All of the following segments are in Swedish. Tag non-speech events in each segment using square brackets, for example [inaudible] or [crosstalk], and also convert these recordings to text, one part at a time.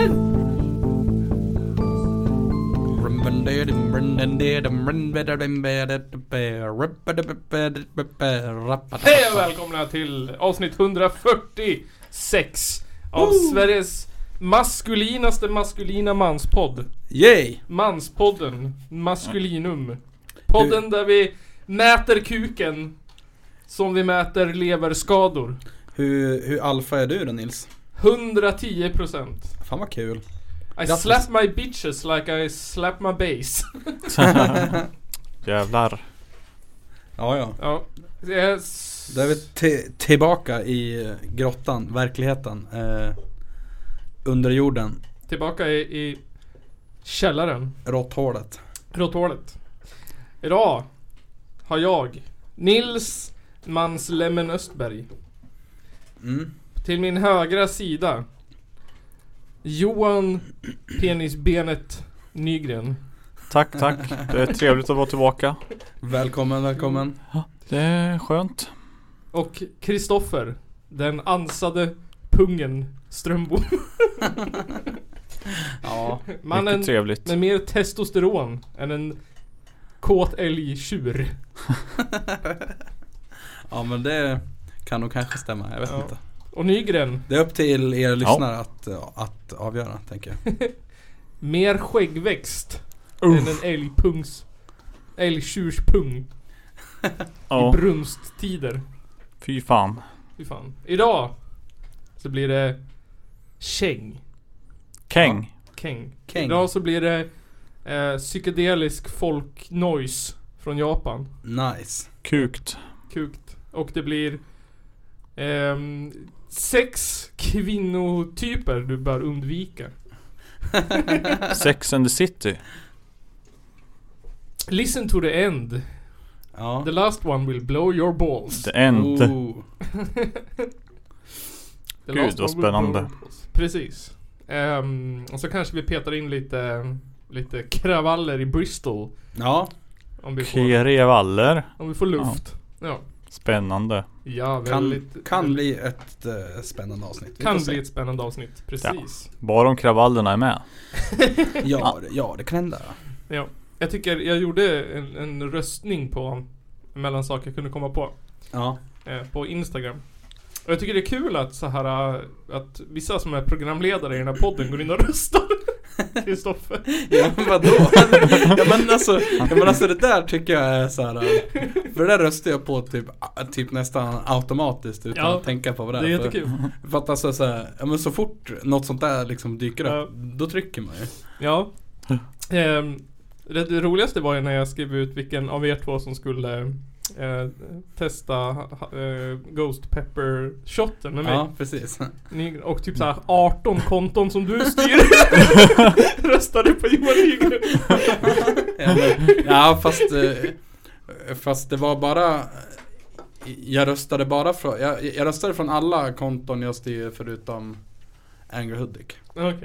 Chillerpodden! Hej och välkomna till avsnitt 146 av Sveriges maskulinaste maskulina manspodd. Yay! Manspodden. Maskulinum. Podden där vi mäter kuken. Som vi mäter leverskador. Hur, hur alfa är du då Nils? 110%. Fan vad kul. I Grattis. slap my bitches like I slap my bass. [laughs] Jävlar. Ja, ja. ja. Jag s- Då är vi ti- tillbaka i eh, grottan, verkligheten. Eh, under jorden, tillbaka i, i källaren. råtthålet. Råtthålet. Idag har jag Nils Manslemmen Östberg. Mm. Till min högra sida Johan Penisbenet Nygren. Tack, tack. Det är trevligt att vara tillbaka. Välkommen, välkommen. Det är skönt. Och Kristoffer, den ansade pungen Strömbom. Ja. Mannen Mycket trevligt. med mer testosteron än en kåt älgtjur. ja, men det kan nog kanske stämma. Jag vet Ja. inte. Och Nygren, Det är upp till er lyssnare att, eh, att avgöra, tänker jag. mer skäggväxt än en älgpungs... Älgtjurspung Ja, i brunsttider. fy fan. Fy fan. Idag så blir det käng. Käng. Keng. Keng. Idag så blir det eh, psykedelisk folknoise från Japan. Nice. Kukt. Kukt. Och det blir ehm, sex kvinnotyper du bör undvika. Sex and the city. Listen to the end. Ja. The last one will blow your balls. The end. Oh. The last Gud, vad one will blow spännande. your balls. Precis. Ehm, och så kanske vi petar in lite, lite kravaller i Bristol. Ja. Om vi får, Kerevaller. om vi får luft. Ja. Spännande. Ja, Kan, väldigt. kan bli ett eh, spännande avsnitt. Vi kan får se. bli ett spännande avsnitt, precis. Bara om kravallerna är med. Ja, det- ja, det kan hända. Ja. Jag tycker jag gjorde en, en röstning på mellan saker jag kunde komma på Ja. [laughs] eh, på Instagram. Och jag tycker det är kul att så här eh, att vissa som är programledare i den här podden går in och [laughs] röstar. Kristoffer. Ja men vadå? ja, men alltså, ja men alltså det där tycker jag är så här. äh, För det där röstar jag på typ, äh, typ nästan automatiskt utan Ja, att tänka på vad Det det är är. för, jättekul. för att alltså så här, ja, men så fort något sånt där liksom dyker upp, Ja. då trycker man ju. Ja. Ehm, det, det roligaste var ju när jag skrev ut vilken av er två som skulle eh, testa ha- eh, Ghost Pepper shotten med mig. Ja, precis. Nygren. Och typ såhär 18 konton som [laughs] du styr Röstade på Johan Nygren Ja, men, ja fast, eh, fast det var bara jag röstade bara från, jag, jag röstade från alla konton jag styr förutom Angry Hudik. Okej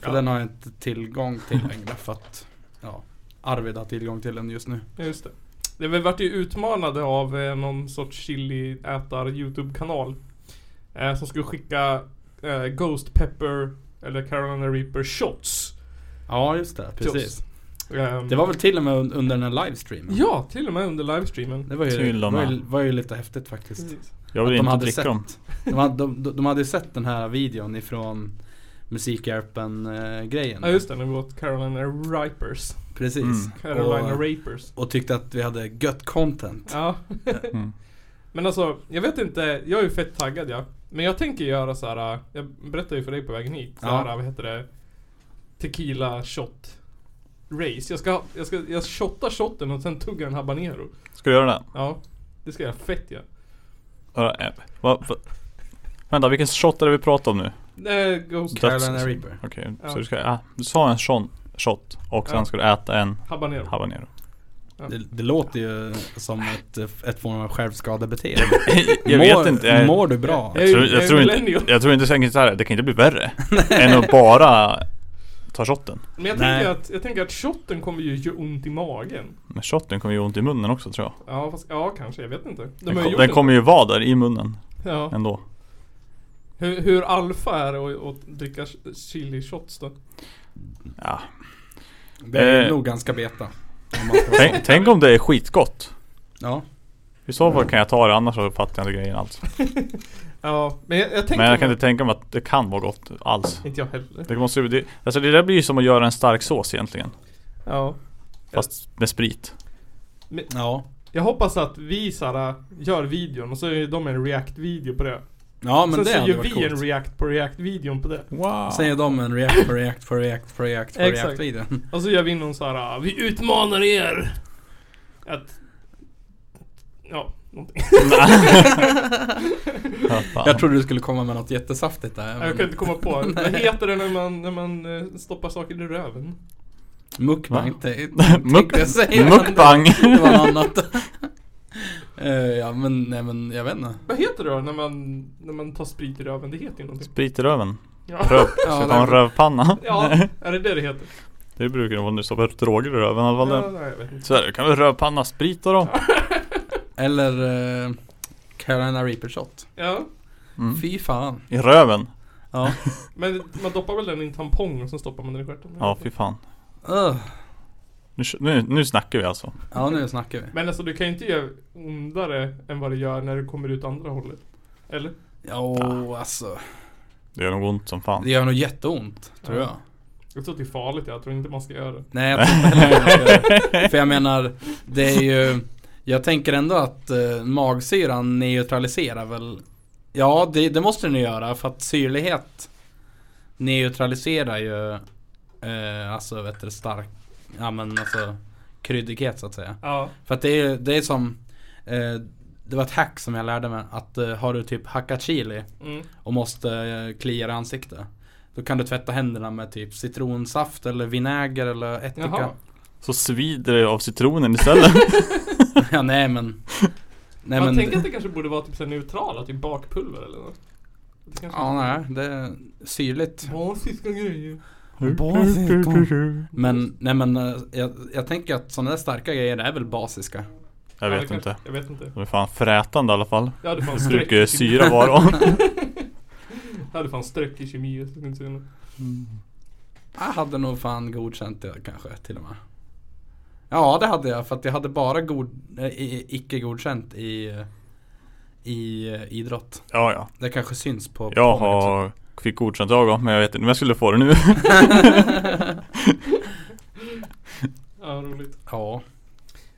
För Ja. den har jag inte tillgång till längre för att ja, Arvid har tillgång till den just nu. ja, just det Det vi vart ju utmanade av eh, någon sorts chiliätar youtube kanal eh, Som skulle skicka eh, Ghost Pepper Eller Carolina Reaper shots Ja just det, Shots. Ehm, Det var väl till och med un- under den här livestreamen? Ja, till och med under livestreamen Det var ju, Till och var, ju, med. var ju lite häftigt faktiskt. Precis. Jag vill Att de inte hade dricka sett. dem. De hade, de, de de hade ju sett den här videon ifrån Musikhjälpen eh, grejen. Ja just det, när vi åt Carolina Reapers Precis. Mm. Carolina Och, Reapers och tyckte att vi hade gött content. Ja Mm. Men alltså, jag vet inte, jag är ju fett taggad ja. Men jag tänker göra så här. äh, jag berättade ju för dig på vägen hit, så Ja. här, äh, vad heter det? Tequila shot race. Jag ska, jag ska, jag shottar shotten och sen tuggar en habanero. Ska du göra det? Ja, det ska jag fett ja. Ja, eh, Va, va? Vänta, vilken shot är det vi pratar om nu? Det goes Döds- Carolina Reaper. Okej, Ja. så du ska ä- Du sa en sån shot och sen Ja. ska du äta en habanero. habanero. [laughs] Det, det låter ju som ett, ett form av självskadebeteende. jag vet [laughs] mår, inte. Jag, Eh, Mår du bra? Jag är tror, ju- jag är jag, tror millennial. [laughs] inte, jag tror inte säkert så här. det kan inte bli värre. än att bara ta shotten. Men jag Nej. tänker, att, jag tänker att shotten kommer ju göra ont i magen. Men shotten kommer ju ont i munnen också tror jag. Ja, fast, ja kanske. Jag vet inte. De har Den, ju kom, gjort den det. kommer ju vara där i munnen Ja. ändå. Hur, hur alfa är det att, att dricka ch- chili shots då? Ja. Det är Eh. nog ganska beta. Om man ska vara Tänk, sån. tänk om det är skitgott. Ja. I så fall kan jag ta det annars så fattar jag inte grejen alls. Ja, men jag, jag tänker... Men jag kan inte tänka mig att det kan vara gott alls. Inte jag heller. Det, måste, ju- det, alltså det där blir ju som att göra en stark sås egentligen. Ja. Fast med sprit. Ja. Jag hoppas att vi Sara gör videon och så gör de en react-video på det. Ja men Sen det så hade gör varit vi coolt. en react på react-videon på det. Wow. Sen gör de [laughs] en react på react på react på react på Exakt. react video. Och så gör vi någon så här, "Ah, vi utmanar er! Att... Ja, någonting. [laughs] Ja, fan. Jag trodde du skulle komma med något jättesaftigt där. Jag kan inte [laughs] komma på. Vad heter det när man, när man eh, stoppar saker i röven? Mukbang. Va? inte- [laughs] Muk- tänkte jag säga. Mukbang! Det var något annat. [laughs] Eh, ja men, nej men jag vet inte. Vad heter det då när man, när man tar sprit i röven? Det heter ju någonting. Sprit [laughs] i röven. Ja, Röv. Ska jag ta en rövpanna? ja är det det det heter? Det brukar de vara när du stoppar droger i röven i alla fall. Ja, nej, jag vet inte. Så här, du kan väl rövpanna sprita då? Eller eh, Carolina Reaper shot. Ja, Mm. Fy fan. I röven? Ja. men man doppar väl den i en tampong och sen stoppar man den i stjärten? Ja, fy fan. Ugh. Nu, nu, nu snackar vi alltså. Ja nu snackar vi. Men alltså du kan ju inte göra ondare än vad det gör när det kommer ut andra hållet. Eller? Jo alltså. Det gör nog ont som fan. Det gör nog jätteont. Tror Ja. jag. Jag tror att det är farligt, jag tror inte man ska göra det. Nej jag tror inte heller man ska göra det. För jag menar. Det är ju. Jag tänker ändå att eh, magsyran neutraliserar väl. Ja det, det måste den ju göra. För att syrlighet neutraliserar ju. Eh, alltså vet du stark. Ja men alltså. Kryddighet så att säga. Ja. För att det är, det är som eh, Det var ett hack som jag lärde mig att eh, har du typ hackat chili Mm. och måste eh, klia dig i ansiktet Då kan du tvätta händerna med typ citronsaft eller vinäger eller ättika Jaha. Så svider det av citronen istället. [laughs] Ja nej men Nej man men tänker att det kanske borde vara typ så här neutrala, typ bakpulver eller något. Det kanske Ja nej det är syrligt Basiska grejer. Men nej men eh, jag, jag tänker att sådana där starka grejer är väl basiska Jag Ja, det vet kanske- inte. Jag vet inte. De är fan frätande i alla fall. Jag hade fan Så sträck i mycket kemi. syra var de. [laughs] Jag hade fan sträck i kemi. Jag skulle inte säga något. Jag hade nog fan godkänt det kanske till och med. Ja det hade jag för att jag hade bara god, eh, i- icke godkänt i, i eh, idrott. Ja, ja. Det kanske syns på Jag på mig också. har fick godkänt jag också, men jag vet inte om jag skulle få det nu. [laughs] Ja, roligt. [laughs] Ja.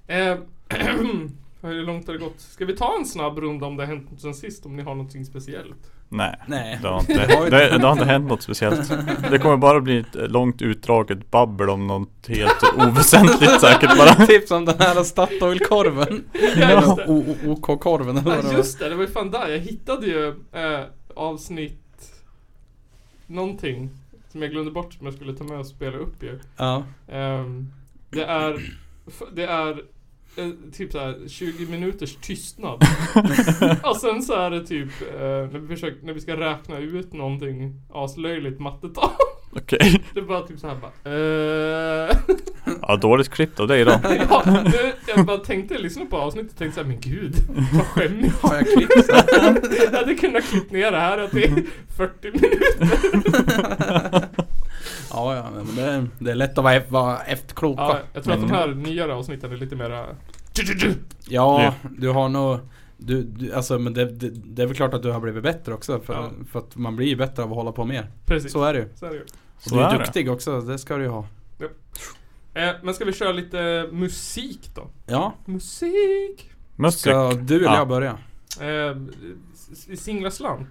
Eh, [clears throat] hur långt har det gått? Ska vi ta en snabb runda om det har hänt något sen sist? Om ni har någonting speciellt? Nej. Nej. Det har, inte, Det har ju- det, det har inte hänt något speciellt. Det kommer bara bli ett långt utdraget babbel om något helt oväsentligt säkert bara. Tips om den här Statoil-korven. [laughs] Ja, just det. [laughs] O- o- OK-korven eller vad Ja det var. just det, det var ju fan där. Jag hittade ju eh, avsnitt någonting som jag glömde bort som jag skulle ta med och spela upp ju. Ja. [laughs] Ehm, det är, f- det är eh, typ såhär 20 minuters tystnad. och sen så är det typ eh, när, vi försöker, när vi ska räkna ut någonting aslöjligt mattetal. Okej. Det är bara typ såhär bara eh, Ja, dåligt klippt av dig då. [laughs] ja, det, Jag bara tänkte lyssna på avsnittet och tänkte såhär men gud vad skämmigt. Har jag klippt så? Jag hade kunnat klippa ner det här till 40 minuter. Ja, ja, men det, det är lätt att vara, vara efterklok va? Ja, jag tror att de här nyare avsnitten är lite mera... Ja, Ja. du har nog du, du, alltså, men det, det, det är väl klart att du har blivit bättre också för, Ja. för att man blir ju bättre av att hålla på mer. Precis. Så är det ju. Så är det ju. Och Så du är är det. duktig också, det ska du ju ha. Eh, men ska vi köra lite musik då? Ja, Musik! Musik. ska du eller Ja. jag börja? Eh, s- vi singlar slant.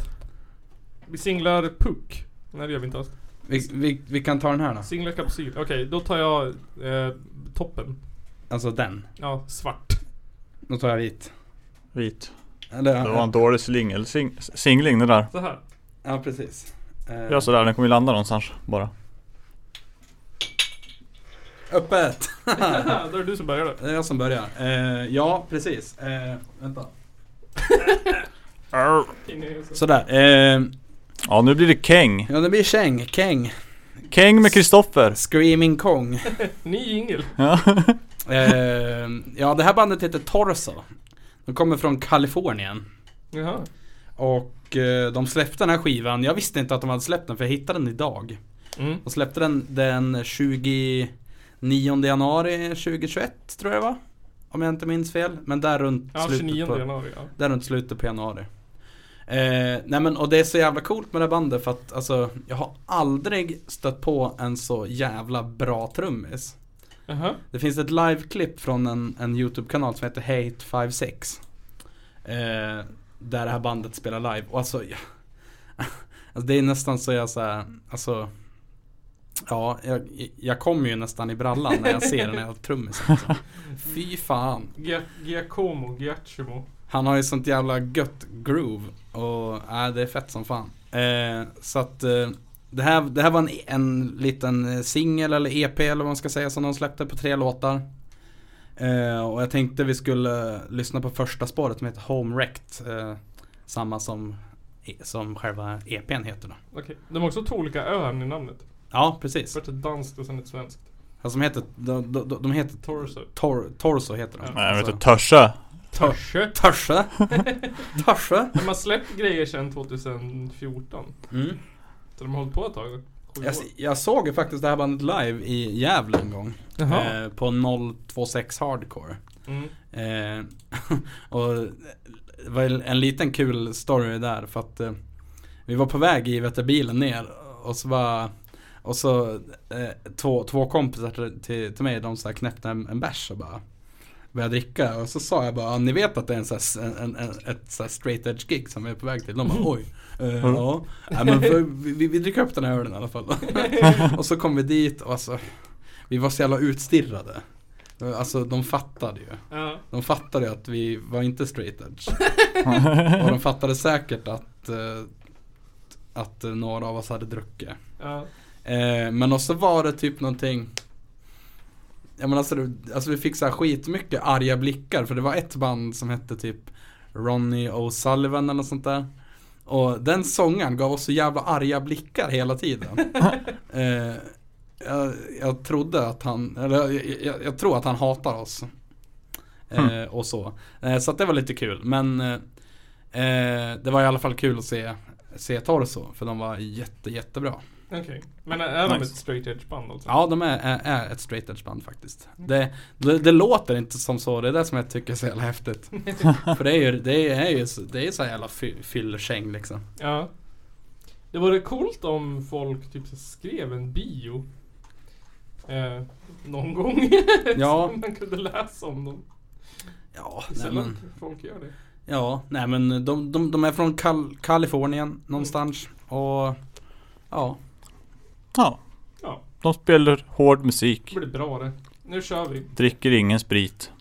Vi singlar puck. Nej det gör vi inte alls. Vi, vi, vi kan ta den här då. Singlar kapsyl. Okej, då tar jag eh, toppen. Alltså den. Ja, svart. Då tar jag vit. Vit. Eller, Det var en dålig slingel, sing, singling det där. [laughs] Så här. Ja, precis. Eh, Gör sådär, den kommer ju landa någonstans bara. Öppet! [laughs] då är det du som börjar då. Det är jag som börjar. Eh, ja, precis. Eh, vänta. In i- så. Sådär. Eh, Ja, nu blir det käng. ja, det blir käng. Käng. Keng med Kristoffer. [laughs] Screaming Kong. Ny jingel. Ja. Eh, ja, det här bandet heter Torso. De kommer från Kalifornien. Jaha. Och eh, de släppte den här skivan. Jag visste inte att de hade släppt den för jag hittade den idag. Mm. De släppte den den 29 januari 2021 tror jag det var. Om jag inte minns fel. Men där runt Ja, 29 slutet på, januari. Ja. där runt slutet på januari. Eh, nej men och det är så jävla coolt med det här bandet för att alltså jag har aldrig stött på en så jävla bra trummis. Jaha. Det finns ett liveklipp från en, en YouTube-kanal som heter Hate56 eh, Där det här bandet spelar live och alltså, ja, [laughs] alltså Det är nästan så jag såhär, alltså Ja, jag, jag kommer ju nästan i brallan när jag ser den här trummisen alltså. Fy fan Gia- Giacomo, Giacomo. Han har ju sånt jävla gött groove och äh, det är fett som fan. Eh, så att eh, det, här, det här var en, en liten eh, singel eller EP eller vad man ska säga som de släppte på tre låtar. Eh, och jag tänkte vi skulle eh, lyssna på första spåret som heter Home Wrecked. Eh, samma som, e, som själva EPn heter då. Okej. De har också två olika ön i namnet. Ja, precis. Först ett danskt och sen ett svenskt. Alltså, de heter, de, de, de heter Torso. tor, Torso heter de. Nej, jag vet inte. Alltså, Törse. Törsö. [laughs] Törsö. Törsö. De har släppt grejer sedan 2014. Mm. Så de har hållit på ett tag. Sju Jag, år. jag såg ju faktiskt det här bandet live i Gävle en gång. Jaha. Eh, på 026 Hardcore. Mm. Eh, [laughs] och det var en liten kul story där för att eh, vi var på väg i vet du, bilen ner och så bara och så eh, två, två kompisar till, till, till mig, de så här knäppte en, en bärs och bara började dricka och så sa jag bara, "Ja, ni vet att det är en, så här, s- en, en, ett så här straight edge gig som vi är på väg till. De bara, oj. Eh, ja, Nej, men för, vi, vi- vi dricker upp den här ölen i alla fall. [laughs] och så kom vi dit och alltså, vi var så jävla utstirrade. Alltså de fattade ju. Ja. De fattade ju att vi var inte straight edge. och de fattade säkert att, eh, att eh, några av oss hade druckit. Ja. Eh, men också var det typ någonting Ja men alltså, det- alltså vi fick så här skitmycket arga blickar för det var ett band som hette typ Ronnie O'Sullivan eller något sånt där. Och den sången gav oss så jävla arga blickar hela tiden. eh, jag, jag trodde att han, eller jag, jag, jag tror att han hatar oss. Eh, Och så. Eh, så att det var lite kul men eh, eh, det var i alla fall kul att se, se Torso för de var jätte jättebra. Okej. Men är- är de Nice. ett straight edge band alltså? Ja, de är, är, är ett straight edge band faktiskt. Mm. Det, det, det låter inte som så, det är det som jag tycker är så jävla [laughs] häftigt. För det är ju, det är ju, så- det är ju så jävla fy- fyllekäng liksom. Ja. Det vore coolt om folk typ så skrev en bio. Eh, någon gång. [laughs] Ja. Så man kunde läsa om dem. Ja, Det är nej Sällan men, folk gör det. ja, nej men de, de, de är från Kal- Kalifornien någonstans Mm. och ja, [laughs] Ja. Ja. De spelar hård musik. Det blir bra det. Nu kör vi. Dricker ingen sprit.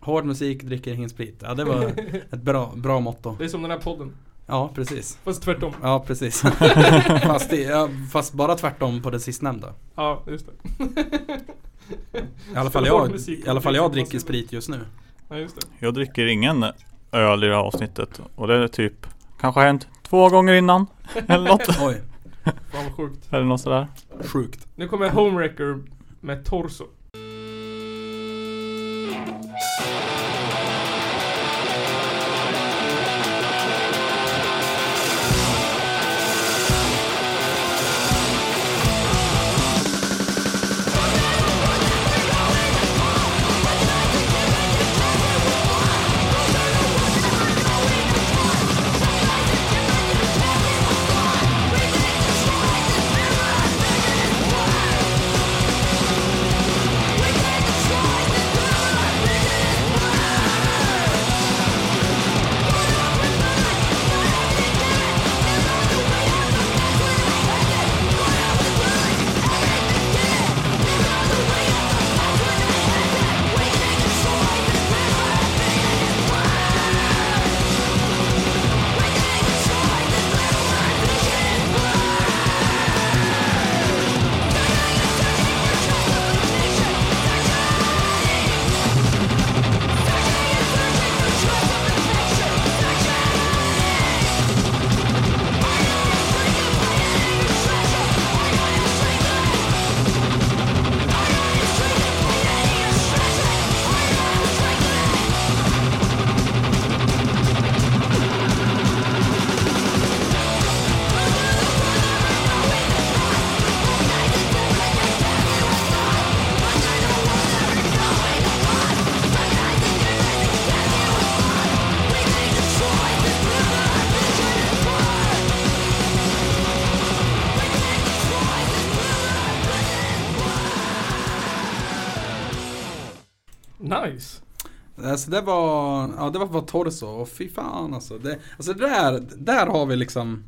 hård musik, dricker ingen sprit. Ja, det var [laughs] ett bra, bra motto. Det är som den här podden. Ja, precis. Fast tvärtom. Ja, [laughs] precis. fast, det, ja, fast bara tvärtom på det sistnämnda. Ja, just det. I alla fall Hård jag, musik. i alla fall jag dricker sprit just nu. Ja, just det. Jag dricker ingen öl i det här avsnittet. Och det är typ kanske har hänt två gånger innan. [laughs] Eller något. Oj, Fan vad sjukt. Eller något sådär. sjukt. Nu kommer Homewrecker med Torso. We're Nice. Eh, Så det var, ja det var bara torso och fy fan alltså. Det, alltså det där, där har vi liksom,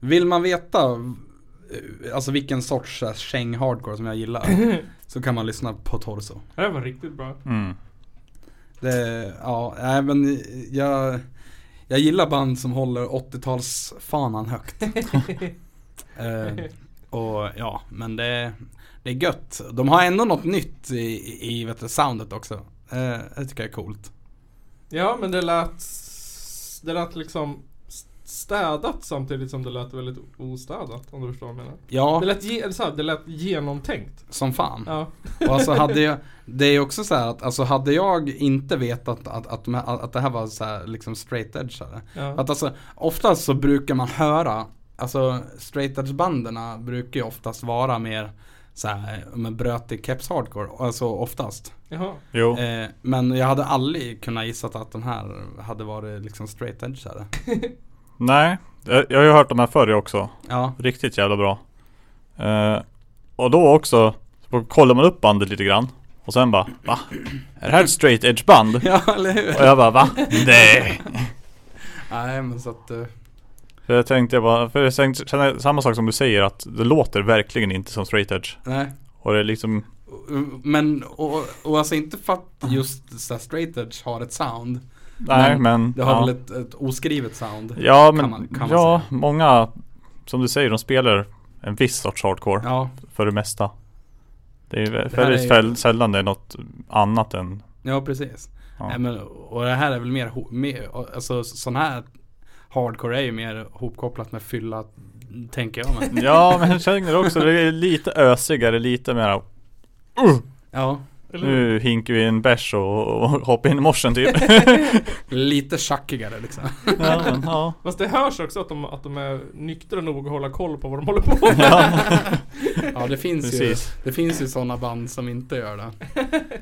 vill man veta eh, alltså vilken sorts så här käng hardcore som jag gillar [laughs] så kan man lyssna på torso. Det här var riktigt bra. Mm. Det, ja, nej men jag, jag gillar band som håller 80-talsfanan [laughs] högt. Eh, och ja, men det, det är gött. De har ändå något nytt i, i vet du, soundet också. Eh, det tycker jag är coolt. Ja, men det lät... Det lät liksom städat samtidigt som det lät väldigt ostädat om du förstår vad jag menar. Ja, Det lät, ge, så här, det lät genomtänkt. som fan. Ja. Och alltså hade jag, det är ju också så här att alltså hade jag inte vetat att, att, de här- att det här var så här liksom straight edgeare. ja. Att alltså oftast så brukar man höra, alltså straight edge banderna brukar ju oftast vara mer så här med brötig keps hardcore, alltså oftast. Jaha. Jo. Eh, men jag hade aldrig kunnat gissa att de här hade varit liksom straight edgeare. Nej, jag, jag har ju hört de här förr också. Ja, [laughs] Riktigt jävla bra. Eh, och då också, så kollar man upp bandet lite grann. Och sen bara, va? Är det här ett straight edge band? ja eller hur? Och jag bara, va? Nej! Nej men så att, eh, För jag tänkte jag bara, för jag tänkte, känner samma sak som du säger att det låter verkligen inte som straight edge. nej. Och det är liksom, Men, och, och alltså inte för att just så här, straight edge har ett sound. nej Men men. Det har ja. väl ett, ett oskrivet sound. Ja men, kan man- kan man ja många, som du säger, de spelar en viss sorts hardcore. Ja, För det mesta. Det är här väldigt är ju- fäll- sällan det är något annat än ja precis. Ja. Nej, men, och det här är väl mer, ho- mer alltså sån här hardcore är ju mer hopkopplat med fylla, tänker jag [laughs] mig. Ja men jag känner också, det är lite ösigare, lite mer Ja, Eller, Nu hinkar vi en bärs och, och hoppar in i [laughs] morsen typ lite tjackigare liksom. ja, men, [laughs] ja. fast det hörs också att de, att de är nyktra nog att hålla koll på vad de håller på med. Ja, det finns ju, Precis. det finns ju sådana band som inte gör det.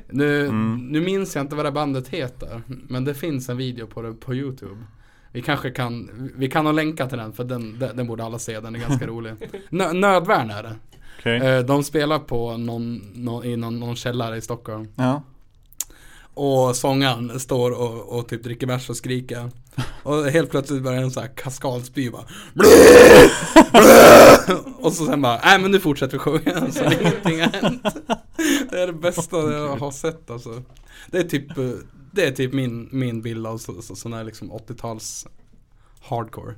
Nu, Mm. nu minns jag inte vad det bandet heter, men det finns en video på det på YouTube. Vi kanske kan, vi kan nog länka till den för den, den, den borde alla se, den är ganska [laughs] rolig. Nö, nödvärn är det. Okej Eh, De spelar på någon, någon, i någon, någon källare i Stockholm. Ja Och sångaren står och, och typ dricker bärs och skriker. Och helt plötsligt börjar en sån här kaskadspy bara [laughs] "Blä! Blä!" Och så sen bara, nej men nu fortsätter vi sjunga. [laughs] Så ingenting har hänt. Det är det bästa jag har sett alltså. Det är typ, eh, det är typ min, min bild av så, så, sån här liksom 80-tals hardcore.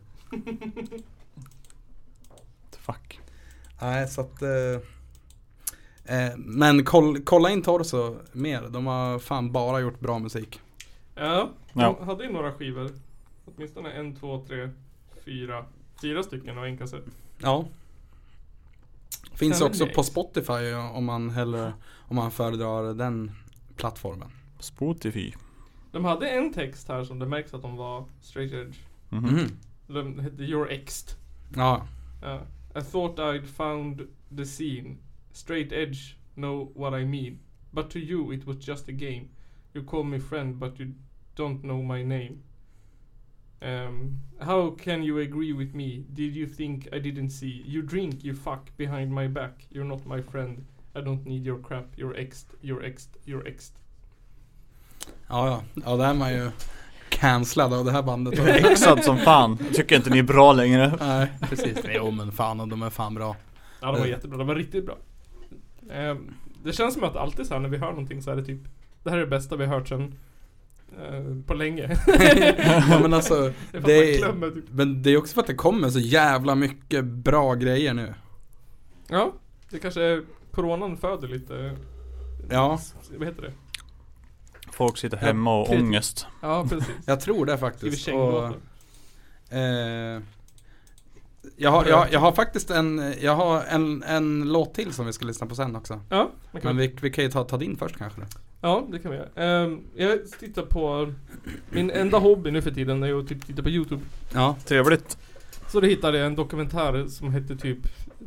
Fuck Nej, så att... Eh, eh, men koll, kolla in Torso mer. De har fan bara gjort bra musik. Ja, de Ja. hade ju några skivor. Åtminstone en, två, tre, fyra. Fyra stycken och en kassett. Ja. Finns Fan, också nice. på Spotify om man hellre, om man föredrar den plattformen. Spotify De hade en text här som det märks att de var straight edge. Mhm. Mm. Mhm. Den hette Your Exed. Ja, Ja. Uh, I thought I'd found the scene. Straight edge, know what I mean. But to you it was just a game. You call me friend but you don't know my name. Um, how can you agree with me? Did you think I didn't see? You drink, you fuck behind my back. You're not my friend. I don't need your crap. You're exed, you're exed, you're exed. ja, ja. ja där är man ju cancellad av det här bandet. Exad som fan, tycker inte ni är bra längre Nej, precis. Jo men fan, och de är fan [laughs] bra. Ja, de var Mm. jättebra. De var riktigt bra. Ehm, det känns som att alltid så här när vi hör någonting så är det typ Det här är det bästa vi har hört sedan eh, på länge. [laughs] ja, men alltså, Det är för det att man glömmer är, typ. men det är också för att det kommer så jävla mycket bra grejer nu. Ja, det kanske är Coronan föder lite Ja, s- Vad heter det? Folk sitter hemma och Kreativ. ångest Ja, precis. jag tror det Skriver faktiskt. Och- känglåtar. Eh, jag, har, jag, jag har faktiskt en, jag har en, en låt till som vi ska lyssna på sen också. Ja, man kan Men vi, vi kan ju ta, ta din först kanske. då. Ja, det kan vi göra. Ehm, jag tittar på Min enda hobby nu för tiden är ju att typ titta på YouTube. Ja. Trevligt Så då hittade jag en dokumentär som hette typ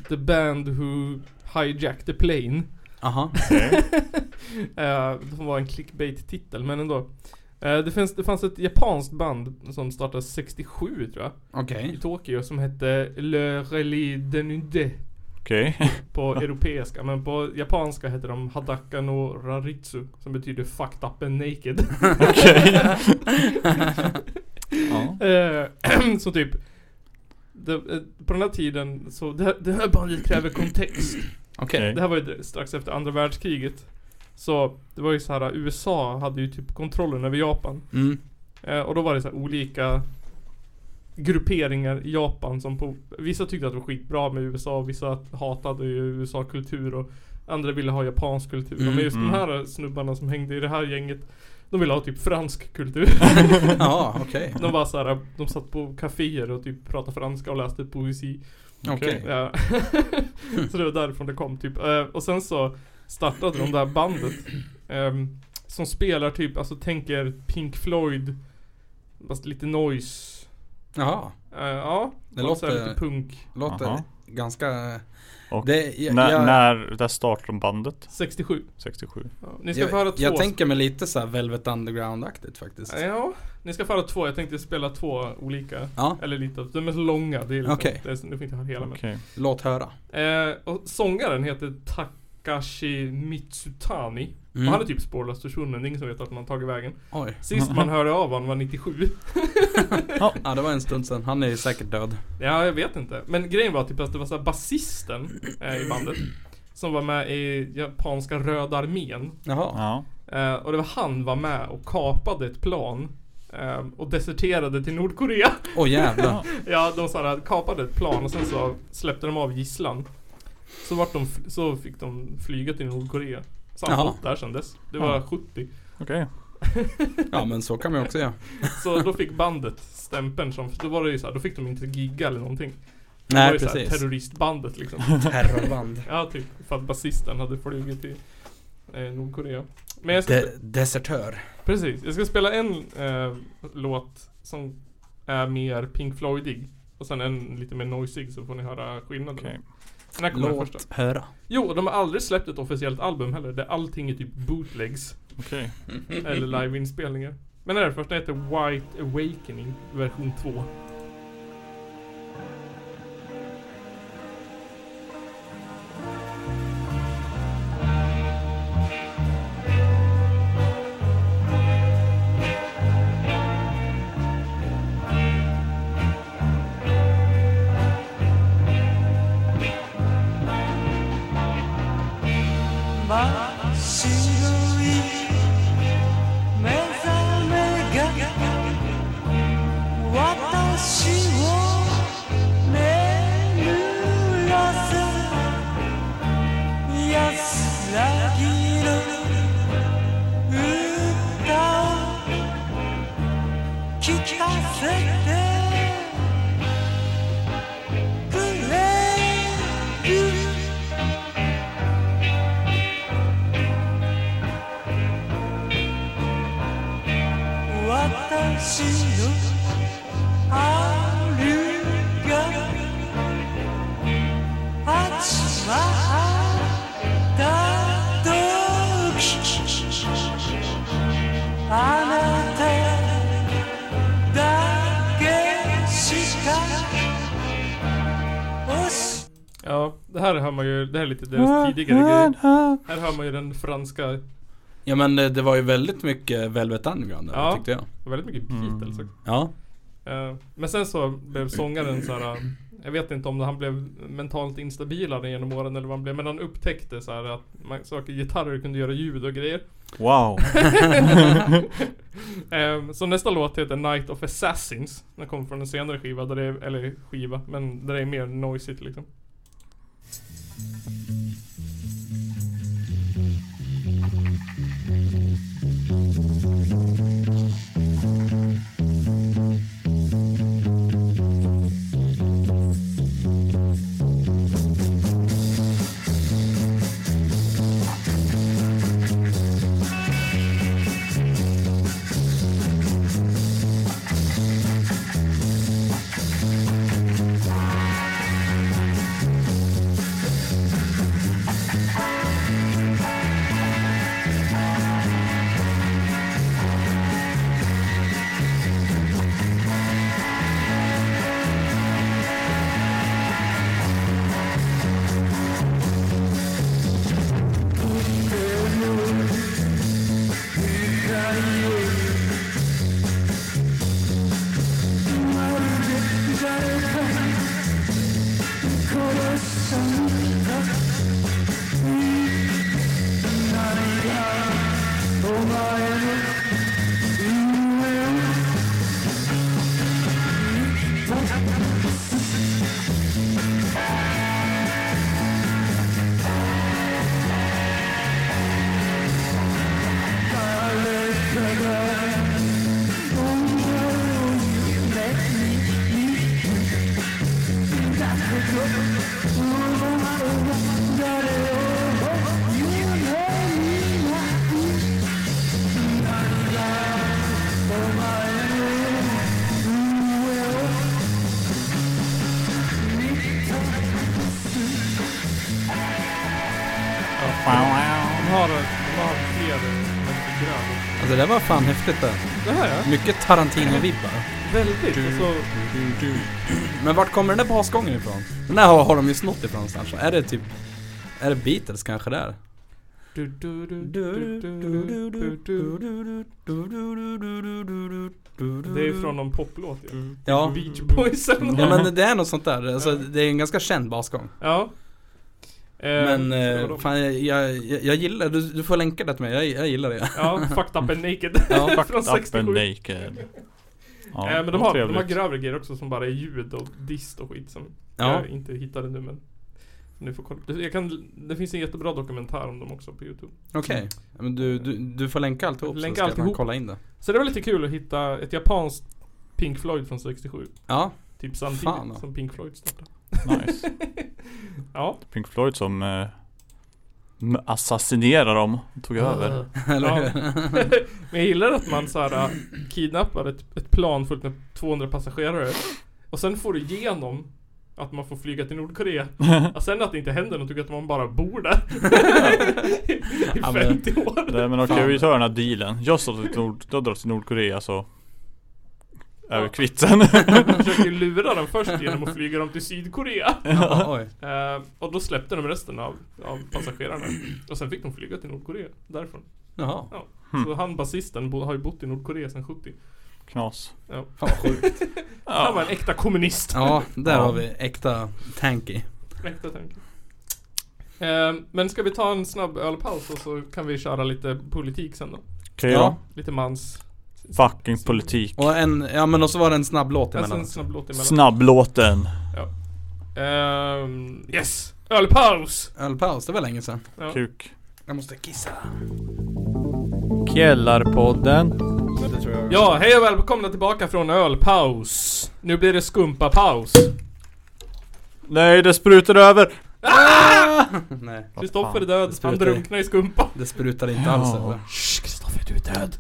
The Band Who Hijacked the Plane. Aha. [laughs] Eh, som var en clickbait-titel, men ändå. Eh, det, finns, det fanns ett japanskt band som startade 67 tror jag, Okej. i Tokyo som hette Le Relais Denudé. Okej. På europeiska, men på japanska heter de Hadaka no Raritsu Som betyder 'fucked up and [laughs] naked' [laughs] Okej. [laughs] Ja. Eh, [clears throat] Så typ det, eh, På den här tiden så det, här- det här bandet kräver kontext Okej. Det här var ju dr- strax efter andra världskriget Så det var ju så här äh, USA hade ju typ kontrollen över Japan Mm. eh, Och då var det så här olika Grupperingar i Japan som på Vissa tyckte att det var skitbra med USA och vissa hatade ju USA-kultur och Andra ville ha japansk kultur Mm, Men just mm. de här snubbarna som hängde i det här gänget De ville ha typ fransk [laughs] kultur [laughs] Ja, okej. De var såhär, de satt på kaféer och typ pratade franska och läste poesi. Okej. Ja. [laughs] så det var därifrån det kom typ. Eh, Och sen så startade de det här bandet. ehm, Som spelar typ, alltså tänker Pink Floyd. Fast lite noise. Jaha. Eh, Ja, Det och så här låter, lite punk. låter Jaha. ganska... Och det, jag, När, jag, när, där startade de bandet? 67. 67. Ja, ni ska få höra jag, två. jag tänker mig lite så här Velvet Underground-aktigt faktiskt. Ja, ni ska få höra två. Jag tänkte spela två olika. Ja, Eller lite, av- de är så långa. Det är liksom, Okej. det är, du får inte höra hela men. Okej. låt höra. Eh, och sångaren heter Takashi Mitsutani. Och Mm. han är typ spårlöst försvunnen, det är ingen som vet att man tagit vägen. Oj. Sist man hörde av honom var 97. Ja, det var en stund sedan. Han är ju säkert död. Ja, jag vet inte. Men grejen var typ att det var så här basisten eh, i bandet. Som var med i japanska Röda armén. Jaha. Ja. Eh, och det var han var med och kapade ett plan. Eh, och deserterade till Nordkorea. [laughs] Åh jävlar. Ja, de så här, kapade ett plan och sen så släppte de av gisslan. Så, vart de, f- så fick de flyga till Nordkorea. Så han Jaha. bott där sen dess. Det var Ja. 70. Okej. Ja, men så kan man ju också göra. Så då fick bandet stämpeln som, då var det ju så här, då fick de inte gigga eller någonting. Det var Nej, ju så här, precis. [laughs] terroristbandet liksom. Terrorband. Ja, typ för att basisten hade flugit till eh, Nordkorea. Men jag ska, De- desertör. precis, jag ska spela en eh, låt som är mer Pink Floydig. Och sen en lite mer noisig så får ni höra skillnaden. Okej. Den här kommer den första. Låt höra. Jo, och de har aldrig släppt ett officiellt album heller. Där allting är typ bootlegs. Okej. [laughs] Eller liveinspelningar. Men den här första heter White Awakening, version 2. 真っ白い目覚めが私を眠らせ安らぎの歌を聴かせてくれる私のあるが始まった時あなただけしか教 Ja, det här hör man ju, det här är lite deras tidigare grejer. Här hör man ju den franska, Ja men det, det var ju väldigt mycket Velvet Underground där, Ja. tyckte jag. väldigt mycket Beatles. Mm. Ja. Eh, men sen så blev sångaren så här. eh, jag vet inte om han blev mentalt instabilare genom åren eller vad han blev. Men han upptäckte så här att man, saker, gitarrer kunde göra ljud och [laughs] grejer. Wow. Eh, så nästa låt heter Night of Assassins. Den kommer från en senare skiva, där det är, eller skiva, men där det är mer noisigt liksom. 「 De har, de har fler efter grön. Alltså det där var fan häftigt det. Det här ja. Mycket Tarantino-vibbar. Väldigt. Alltså, Men vart kommer den där basgången ifrån? Den där har, har de ju snott ifrån någonstans. Är det typ... Är det Beatles kanske där? du, du, du, du, du, du, du, du. Det är från någon poplåt ju. Ja. Beach Boys eller något. Ja men det är något sånt där. Alltså, det är en ganska känd basgång. Ja. Eh, Men det var eh, dem. fan, jag, jag, jag, jag gillar du, du får länka det till mig. Jag, jag gillar det. Ja, Fucked Up and Naked. [laughs] Ja, från Fucked up 67. and naked. Ja, eh, men de har, vad de har trevligt. grövre grejer också som bara är ljud och dist och skit som Ja. jag inte hittade nu men nu får kolla. Det- Jag kan, det finns en jättebra dokumentär om dem också på youtube. Okej. Ja, Men du, du, du får länka alltihop Länka så ska man alltihop. kolla in det. Så det var lite kul att hitta ett japanskt Pink Floyd från 67. Ja, Typ samtidigt Fan, ja. som Pink Floyd startade. Nice. Ja. [laughs] Pink Floyd som eh, m- assassinerade dem och [laughs] tog över. eller Ja. hur? [laughs] Men jag gillar att man såhär äh, kidnappar ett, ett plan fullt med 200 passagerare och sen får du igenom att man får flyga [laughs] till Nordkorea. Och sen att det inte händer något och att man bara bor där. Ja, I men- 50 år. Nej men okej Fan. vi tar den här dealen. Jag drar till, Nord, jag drar till Nordkorea så är vi Ja. kvitt sen. Man försöker ju lura dem först genom att flyga dem till Sydkorea. Ja, oj. Eh, och då släppte de resten av, av passagerarna. Och sen fick de flyga till Nordkorea därifrån. Jaha. Ja. Hm. Så han basisten bo, har ju bott i Nordkorea sedan 70. [laughs] Knas. Ja. Fan vad sjukt. Han var en äkta kommunist. Ja, där Ja. har vi äkta tanky. Äkta tanke. Ehm, men ska vi ta en snabb ölpaus och så kan vi köra lite politik sen då? Okej Ja. då. Lite mans. Fucking politik. Och en, ja men och så var det en snabb låt Alltså en emellan. snabb låt emellan. Snabblåten. Ehm, yes! Ölpaus! Ölpaus, det var länge sedan. Ja. Kuk. Jag måste kissa. Källarpodden. Det tror jag. Ja, hej och välkomna tillbaka från ölpaus. Nu blir det skumpapaus. Nej det sprutar över. [laughs] Nej, Kristoffer är fan, död, han sprutar i. drunknar i skumpa. det sprutar inte Ja. alls eller? Shh, Kristoffer du är död.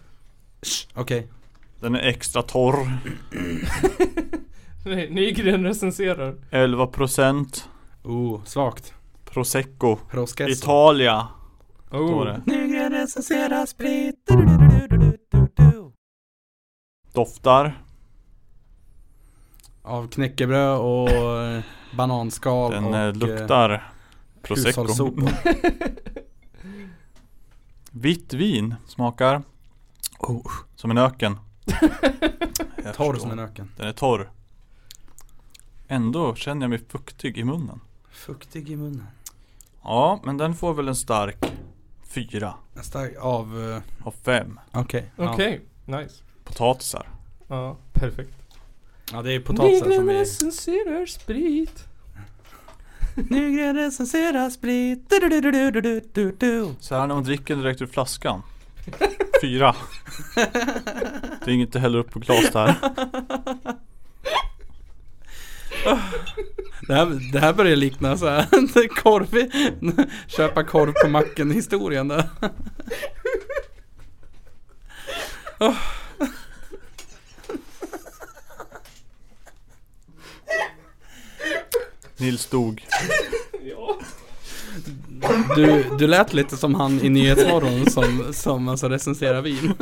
Okej. Den är extra torr. Nej, Nygren recenserar. 11% Oh, svagt. prosecco. Proskesso. Italia. Står Oh. det. Nygren recenserar sprit. Doftar. Av knäckebröd och eh, bananskal Den och... eh, eh, luktar prosecco. Mm. hushållssopor. Vitt vin smakar oh, som [laughs] en öken. Jag Torr förstår. som en öken. Den är torr. Ändå känner jag mig fuktig i munnen. Fuktig i munnen. Ja, men den får väl en stark fyra En stark av... eh, av fem Okej. ja. Okej, nice. potatisar. Ja, perfekt. Ja. det är potatisen som Nygren vi... recenserar sprit. Nygren recenserar sprit. Du, du, du, du, du, du, du, du. Så här när man dricker direkt ur flaskan. Fyra. Det är inget du häller upp på glas där. Det här, det här börjar likna så här, [laughs] korv i, köpa korv på macken historien där. Åh. Nils dog. Ja. Du, du lät lite som han i Nyhetsmorgon som, som alltså recenserar vin.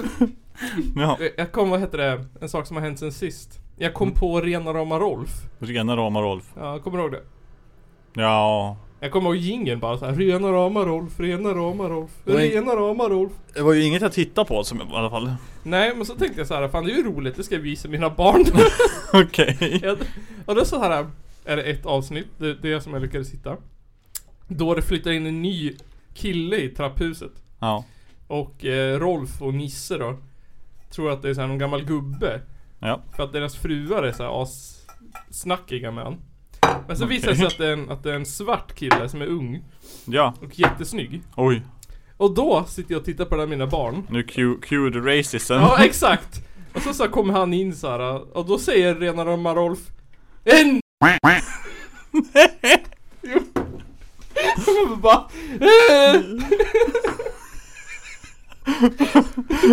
Ja, Eh, Jag kom, vad heter det, en sak som har hänt sen sist. Jag kom Mm. på rena rama Rolf. rena rama Rolf. Ja, kommer du ihåg det? Ja. Jag kommer ihåg jingeln bara så här. Rena rama Rolf, rena rama Rolf, Nej. rena rama Rolf. Det var ju inget jag tittade på som, i alla fall. [laughs] Nej, men så tänkte jag så här, fan det är ju roligt, det ska jag visa mina barn. [laughs] Okej. Jag- och då så här är det ett avsnitt, det, det är som jag lyckades hitta. Då det flyttar in en ny kille i trapphuset. Ja. Och eh, Rolf och Nisse då Tror att det är så här någon gammal gubbe Ja. För att deras fruar är så här as snackiga med han. Men så visar det sig att det, är en, att det är en svart kille som är ung Ja, och jättesnygg. oj. Och då sitter jag och tittar på det här med mina barn. Nu cue, cue the racism. Ja, exakt! Och så, så här kommer han in så här och då säger rena rama Rolf En! [laughs] Jo. Och man bara "Eh."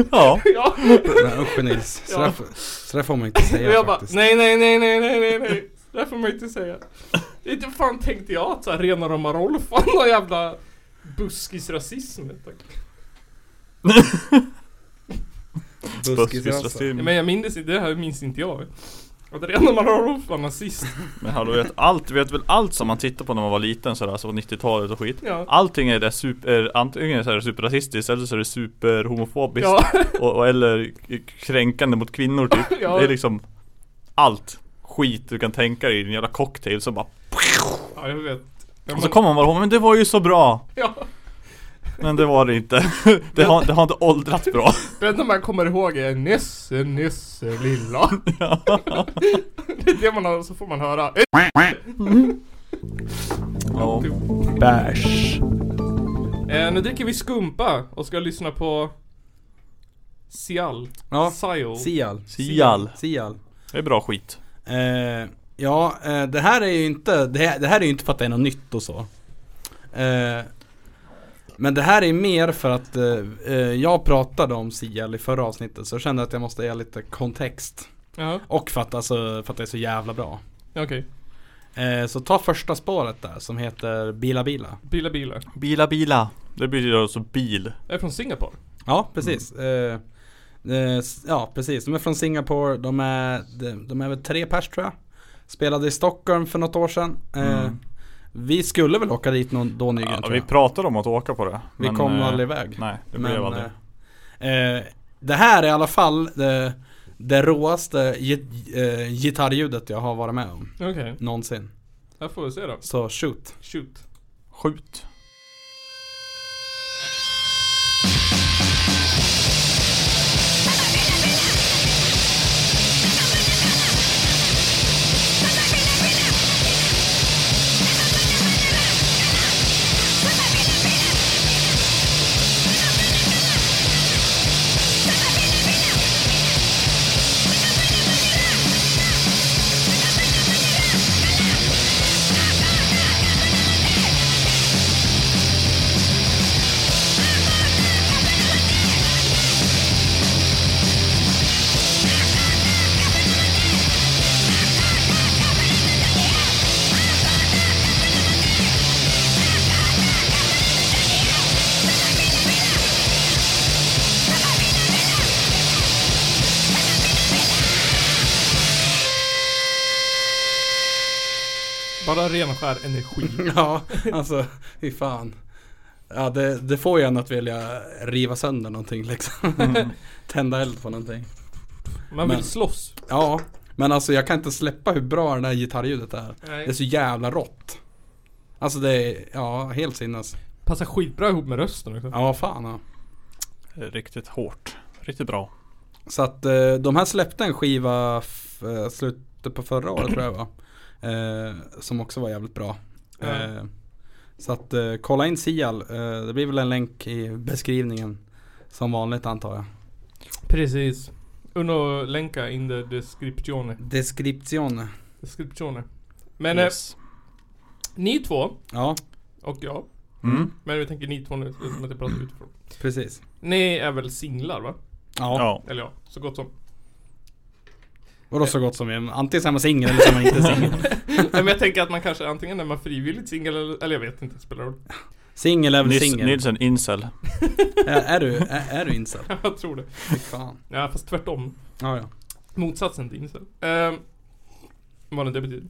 [laughs] ja. Ja, Nej, usch Nils, så där Ja. får- så där får man inte och säga jag bara faktiskt. nej, nej, nej, nej, nej, nej, nej. Det här får man inte säga. Inte fan tänkte jag att så här rena rama Rolf var någon jävla buskisrasism. Tack. Buskis alltså. Mm. Ja, men jag minns inte, det här minns inte jag. Att rena rama Rolf var nazist. Men hallå vet allt, vet väl allt som man tittar på när man var liten sådär, så på 90-talet och skit Ja. Allting är det super, antingen så är det superrasistiskt eller så är det superhomofobiskt Ja, och, och eller k- kränkande mot kvinnor typ Ja. Det är liksom allt skit du kan tänka dig i en jävla cocktail som bara ja jag vet. Ja, Och så kommer man bara ihåg, men det var ju så bra! ja. Men det var det inte [laughs] Det har, det har inte åldrats bra Det enda man kommer ihåg är Nisse, Nisse lilla. [laughs] [laughs] det är det man har, så får man höra. ja. Typ. Bash Eh, nu dricker vi skumpa och ska lyssna på Sial. Ja, Sial. Sial. Sial Sial. Det är bra skit Eh, ja, eh, det här är ju inte, det här, det här är ju inte för att det är något nytt och så. Eh, men det här är mer för att eh, eh, jag pratade om Sial i förra avsnittet så jag kände att jag måste ge lite kontext. Jaha, Och för att, alltså, för att det är så jävla bra. okej. Eh, så ta första spåret där som heter Bila Bila. Bila Bila. Bila bila Det betyder alltså bil Jag är från Singapore. Ja, precis. Mm. Eh, eh, s- ja, precis. De är från Singapore. De är, de, de är väl tre pers tror jag. Spelade i Stockholm för något år sedan. Eh, Mm. Vi skulle väl åka dit någon, då nyligen ja, tror Vi jag. pratade om att åka på det Vi men, kom eh, aldrig iväg. Nej, det Men, blev aldrig eh, eh, det här är i alla fall det, det råaste git, eh, gitarrljudet jag har varit med om. Okej, Någonsin. här får vi se då. Så [laughs] shoot. Shoot. [laughs] Skjut. Bara ren och skär energi. ja, alltså fy fan. Ja, det, det får ju en att vilja riva sönder någonting liksom. [laughs] Mm. Tända eld på någonting. Man vill Men- slåss. Ja, men alltså jag kan inte släppa hur bra det där gitarrljudet är. Det är Nej. så jävla rått. Alltså det är, ja helt sinnes. Passar skitbra ihop med rösten också. Ja, fan ja. Riktigt hårt. Riktigt bra. Så att eh, de här släppte en skiva f- eh, slutet på förra året tror jag va? Eh, som också var jävligt bra. Ja. Eh, så att eh, kolla in Sial. Eh, det blir väl en länk i beskrivningen. Som vanligt antar jag. Precis. Uno länka in the descriptione. Description. Descriptione. Men eh, yes. ni två Ja, och jag. Mm. Men vi tänker ni två nu som att jag pratar utifrån. precis. Ni är väl singlar va? Ja, Ja. Eller ja, så gott som. och då så gott som vi Antingen så är man singel eller så är man inte singel. [laughs] Nej, men jag tänker att man kanske antingen är man frivilligt singel eller, eller jag vet inte, spelar roll. [laughs] Singel är väl Nils, singel. Nils är en incel. Är, är du, är, är du incel? jag tror det. Fy fan. Ja fast tvärtom. Ja, ja. Motsatsen till incel. Ehm, vad nu det betyder.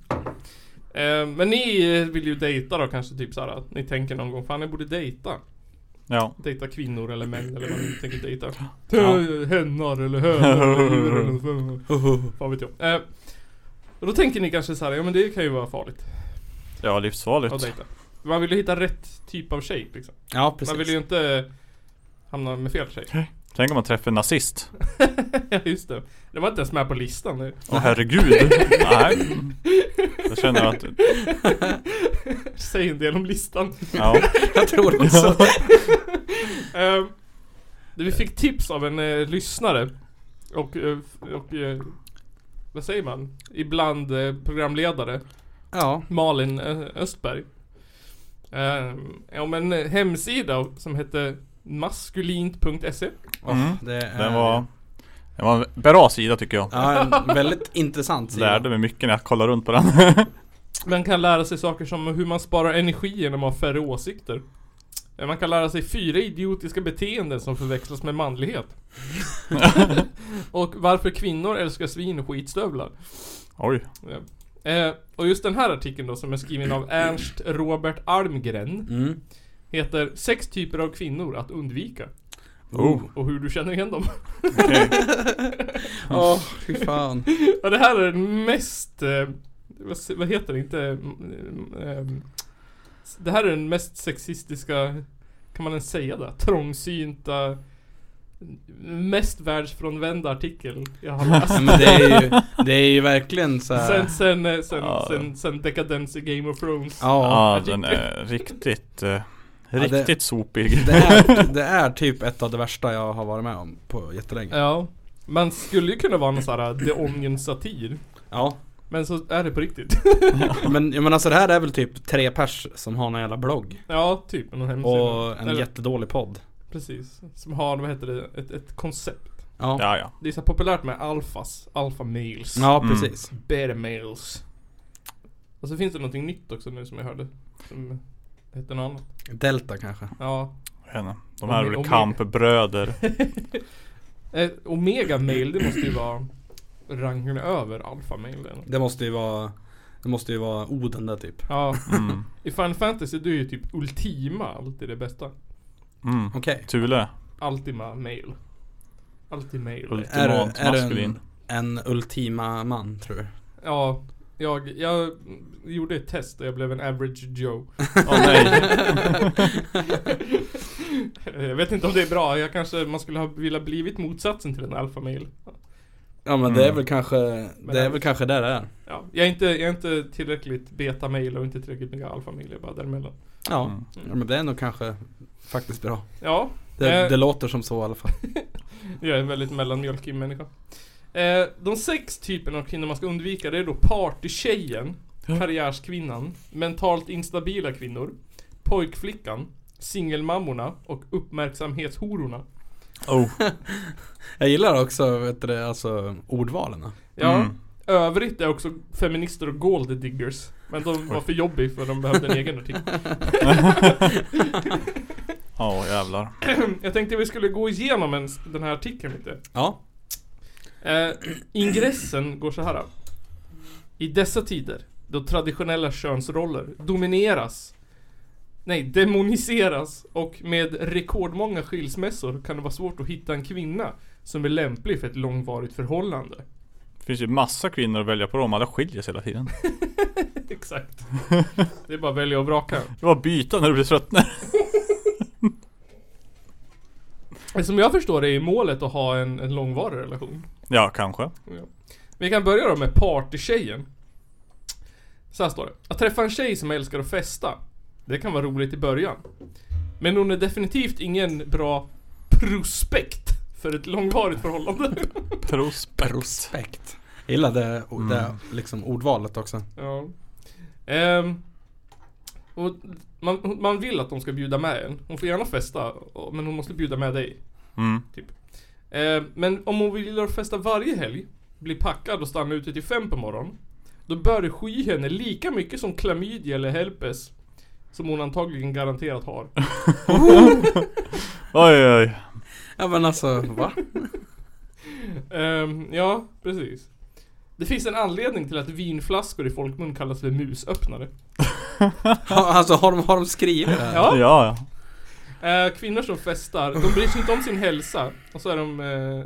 Ehm, men ni eh, vill ju dejta då kanske typ såhär att ni tänker någon gång fan jag borde dejta. Ja. Dejta kvinnor eller män eller vad ni tänker dejta. Ja. Hennar eller hönor eller djur eller så. Vad vet jag. Ehm, och då tänker ni kanske så här, ja men det kan ju vara farligt Ja, livsfarligt. att dejta. Man vill ju hitta rätt typ av tjej liksom. Ja, precis. Man vill ju inte hamna med fel tjej. Tänk om man träffar en nazist. [laughs] Ja, just det. Det var inte ens med på listan nu. Åh [laughs] herregud. Nej. Jag känner att, Säg en del om listan. ja. Jag tror också. Eh, vi fick tips av en eh, lyssnare. Och, eh, och eh, vad säger man? Ibland eh, programledare. Ja. Malin Ö- Östberg. Eh, om en hemsida som hette maskulint.se. Åh, Mm. det är, [laughs] Den var, den var en bra sida tycker jag. Ja, en väldigt intressant sida. Lärde mig mycket när jag kollade runt [laughs] på den. [laughs] Man kan lära sig saker som hur man sparar energi genom att ha färre åsikter. Eh, Man kan lära sig fyra idiotiska beteenden som förväxlas med manlighet. och varför kvinnor älskar svin och skitstövlar. Oj. Ja. Eh, och just den här artikeln då som är skriven av Ernst Robert Almgren Mm. heter Sex typer av kvinnor att undvika Oh. och hur du känner igen dem. Okej. Åh, fy fan. Ja det här är den mest... Eh, vad, s- vad heter det? Inte... mm, ehm, s- det här är den mest sexistiska... Kan man ens säga det? Trångsynta... Mest världsfrånvända artikel jag har läst. Men det är ju, det är ju verkligen så här. Sen, sen, eh, sen, Ja. sen, sen dekadens i Game of Thrones. Ja. Ja, den är riktigt, eh, det- riktigt sopig. Det är, det är typ ett av det värsta jag har varit med om på jättelänge. Ja. Man skulle ju kunna vara någon sån här The Onion-satir. Ja. Men så är det på riktigt. [laughs] Men, ja, men alltså det här är väl typ tre pers som har någon jävla blogg. Ja, typ. Någon hemsida. Och en Eller, jättedålig podd. Precis. Som har, vad heter det, ett, ett koncept. Ja, ja, [laughs] Ja, ja. Det är så populärt med alfas, alfa males, Mm. precis. beta males. Och så finns det någonting nytt också nu som jag hörde. Som hette något annat. Delta kanske. Ja. Jag vet inte. De här är Om- om- väl [laughs] kampbröder. Eh, Omega male, det måste ju vara rangen över alfa male eller något. Det måste ju vara, det måste ju vara Oden där typ. Ja, Mm. i Final Fantasy du är ju typ Ultima alltid det bästa. Mm. Okej. Thule. Ultima male. Alltid male. Är, Ultimat är du [laughs] maskulin. en, en ultima man tror du? Ja, jag, jag mm, gjorde ett test och jag blev en average Joe. Åh nej. [laughs] jag vet inte om det är bra, jag kanske, man skulle ha vilja blivit motsatsen till en alfamil. Ja men Mm. det är väl kanske, det är alltså- väl kanske där det är. Ja, jag är inte, jag är inte tillräckligt beta-mail och inte tillräckligt mycket alfamil, jag är bara däremellan. Ja. Mm. ja, men det är nog kanske faktiskt bra. Ja, Det, Eh. det låter som så i alla fall. jag är en väldigt mellanmjölkig människa. Eh, de sex typerna av kvinnor man ska undvika, det är då partytjejen, karriärskvinnan, mentalt instabila kvinnor, pojkflickan, singelmammorna och uppmärksamhetshororna. Oh. Jag gillar också, vet du det, alltså [laughs] ordvalen. Ja, Mm. Övrigt är också feminister och gold diggers. Men de var för jobbiga för de behövde en [clears throat] egen artikel. Ja, jävlar. Jag tänkte vi skulle gå igenom en, den här artikeln lite. Ja. Eh, ingressen går så här. I dessa tider, då traditionella könsroller domineras Nej, demoniseras och med rekordmånga skilsmässor kan det vara svårt att hitta en kvinna som är lämplig för ett långvarigt förhållande. [laughs] Det finns ju massa kvinnor att välja på dem. Alla skiljer sig hela tiden. Exakt. Det är bara att välja och vraka. Det var byta när du blir trött. [laughs] Som jag förstår det är målet att ha en, en långvarig relation. Ja, kanske. Vi kan börja då med partytjejen. Så här står det. Att träffa en tjej som älskar att festa. Det kan vara roligt i början. Men hon är definitivt ingen bra prospekt för ett långvarigt förhållande. Prospekt. Prospekt. Jag gillar det, det Mm. liksom ordvalet också. ja. Ehm, och man, man vill att de ska bjuda med en. Hon får gärna festa, och- men hon måste bjuda med dig. [laughs] Mm. Eh, men om hon vill att festa varje helg, bli packad och stanna ute till fem på morgonen, då bör det sky henne lika mycket som klamydia eller herpes, som hon antagligen garanterat har. Oj, oj. Ja men alltså, [laughs] va? Ehm, ja, precis. Det finns en anledning till att vinflaskor i folkmun kallas för musöppnare. Ha, alltså har de, har de skrivit det här? Ja. Ja, ja. Eh, kvinnor som festar, de bryr sig inte om sin hälsa, och så är de... Eh,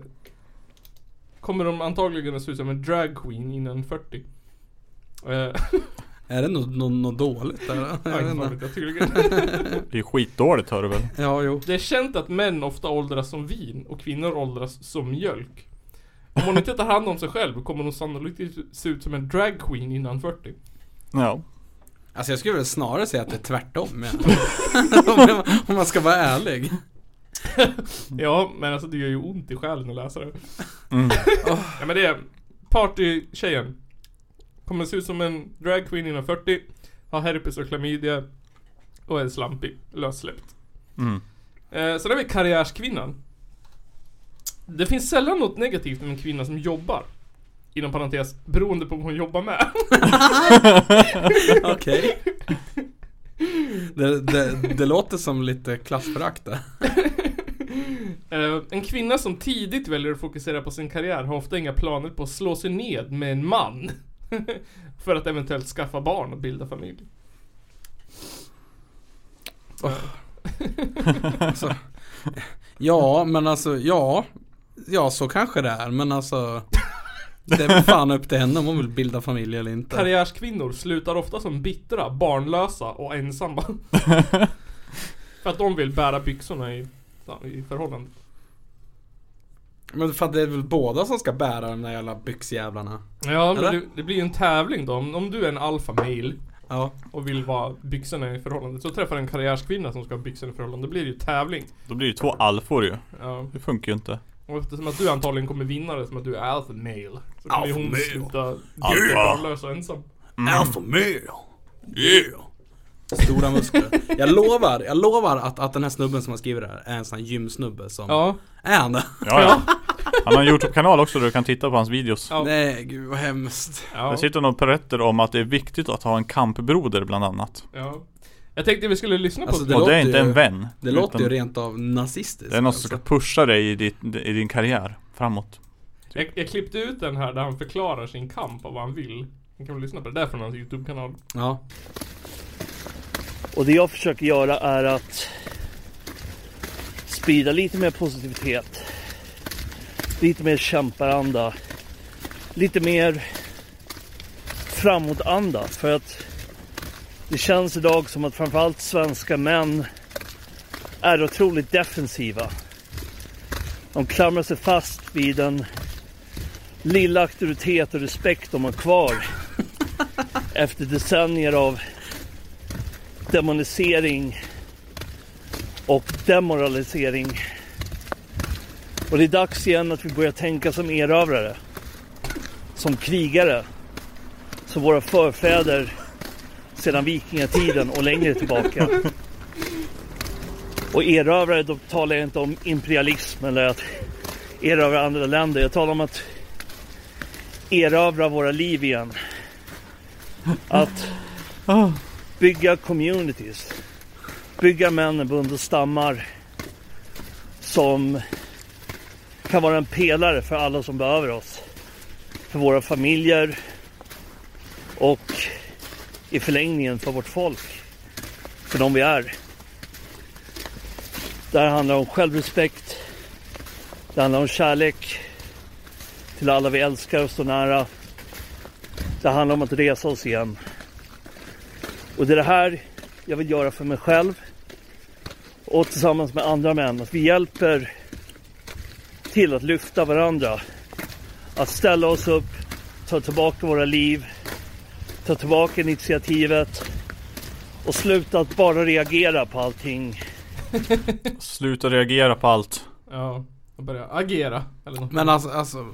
kommer de antagligen att se ut som en drag queen innan 40. Eh, [laughs] Är det något, något, något dåligt där? Jag vet inte. Angstfarligt, jag tycker det. Det är ju skitdåligt hör du väl? Ja, jo. Det är känt att män ofta åldras som vin och kvinnor åldras som mjölk. Om hon inte tar hand om sig själv kommer hon sannolikt se ut som en drag queen innan 40. Ja. Alltså jag skulle väl snarare säga att det är tvärtom. Ja. [laughs] Om man ska vara ärlig. [laughs] Ja, men alltså det gör ju ont i själen att läsa det. Mm. Ja men det är partytjejen. Kommer se ut som en drag queen innan 40. Har herpes och klamydia. Och är slampig, lössläppt. Mm. Eh, sen har vi karriärskvinnan. Det finns sällan något negativt med en kvinna som jobbar. Inom parentes, beroende på vad hon jobbar med. Okej. Det, det, det låter som lite klassförakt det. [laughs] Eh, en kvinna som tidigt väljer att fokusera på sin karriär har ofta inga planer på att slå sig ned med en man. [laughs] För att eventuellt skaffa barn och bilda familj. Alltså, ja, men alltså, ja. Ja, så kanske det är, men alltså. Det är väl fan upp till henne om hon vill bilda familj eller inte. Karriärskvinnor slutar ofta som bittra, barnlösa och ensamma. För att de vill bära byxorna i, i förhållandet. Men fan, det är väl båda som ska bära de där jävla byxjävlarna. Ja, men Eller? det, det blir ju en tävling då. Om, om du är en alfa male Ja. och vill vara byxorna i förhållandet. Så träffar en karriärskvinna som ska ha byxorna i förhållande. Då blir det ju tävling. Då blir det två alfor ju. Ja. Det funkar ju inte. Och eftersom att du antagligen kommer vinna det som att du är alpha male. Så kommer ju Alpha hon male. sluta Alpha. barnlös och ensam. Mm. Alpha male. Yeah. Stora muskler. Jag lovar, jag lovar att, att den här snubben som har skrivit det här är en sån här gymsnubbe som... Ja. Är han det? Ja, [laughs] ja. Han har en Youtube-kanal också där du kan titta på hans videos. [laughs] Ja. Nej, gud vad hemskt. Ja. Där sitter några berättar om att det är viktigt att ha en kampbroder bland annat. ja. Jag tänkte vi skulle lyssna på Alltså, ett- Det och det är låter inte ju- en vän. Det låter ju utan rent av nazistiskt. Det är något som alltså. ska pusha dig i, ditt, i din karriär framåt. jag, jag klippte ut den här där han förklarar sin kamp och vad han vill. Ni kan väl lyssna på det där från hans YouTube-kanal. Ja. Och det jag försöker göra är att sprida lite mer positivitet. Lite mer kämparanda. Lite mer framåtanda. För att det känns idag som att framförallt svenska män är otroligt defensiva. De klamrar sig fast vid den lilla auktoritet och respekt de har kvar efter decennier av demonisering och demoralisering. Och det är dags igen att vi börjar tänka som erövrare. Som krigare. Som våra förfäder sedan vikingatiden och längre tillbaka. Och erövrare, då talar jag inte om imperialism eller att erövra andra länder. Jag talar om att erövra våra liv igen. Att bygga communities. Bygga män, bund och stammar som kan vara en pelare för alla som behöver oss. För våra familjer och i förlängningen för vårt folk. För de vi är. Det här handlar om självrespekt. Det handlar om kärlek till alla vi älskar och står nära. Det handlar om att resa oss igen. Och det är det här jag vill göra för mig själv och tillsammans med andra män. Att vi hjälper till att lyfta varandra. Att ställa oss upp, ta tillbaka våra liv, ta tillbaka initiativet och sluta att bara reagera på allting. Sluta reagera på allt. Ja. Och börja agera. Eller något. Men alltså, alltså.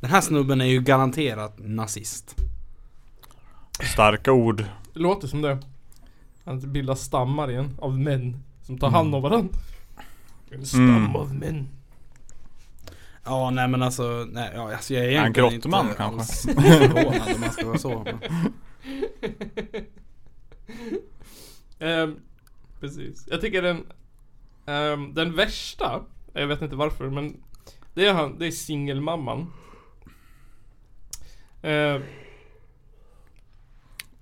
Den här snubben är ju garanterat nazist. Starka ord. Det låter som det. Han bildar stammar igen av män som tar hand om varandra. En stam Mm. av män. Ja, nej men alltså. Nej, ja, alltså jag är en egentligen grottman inte kanske? alls förvånad om man ska vara så. Ehm, precis. Jag tycker den ehm, Den värsta Jag vet inte varför men Det är han, det är singelmamman Ehm,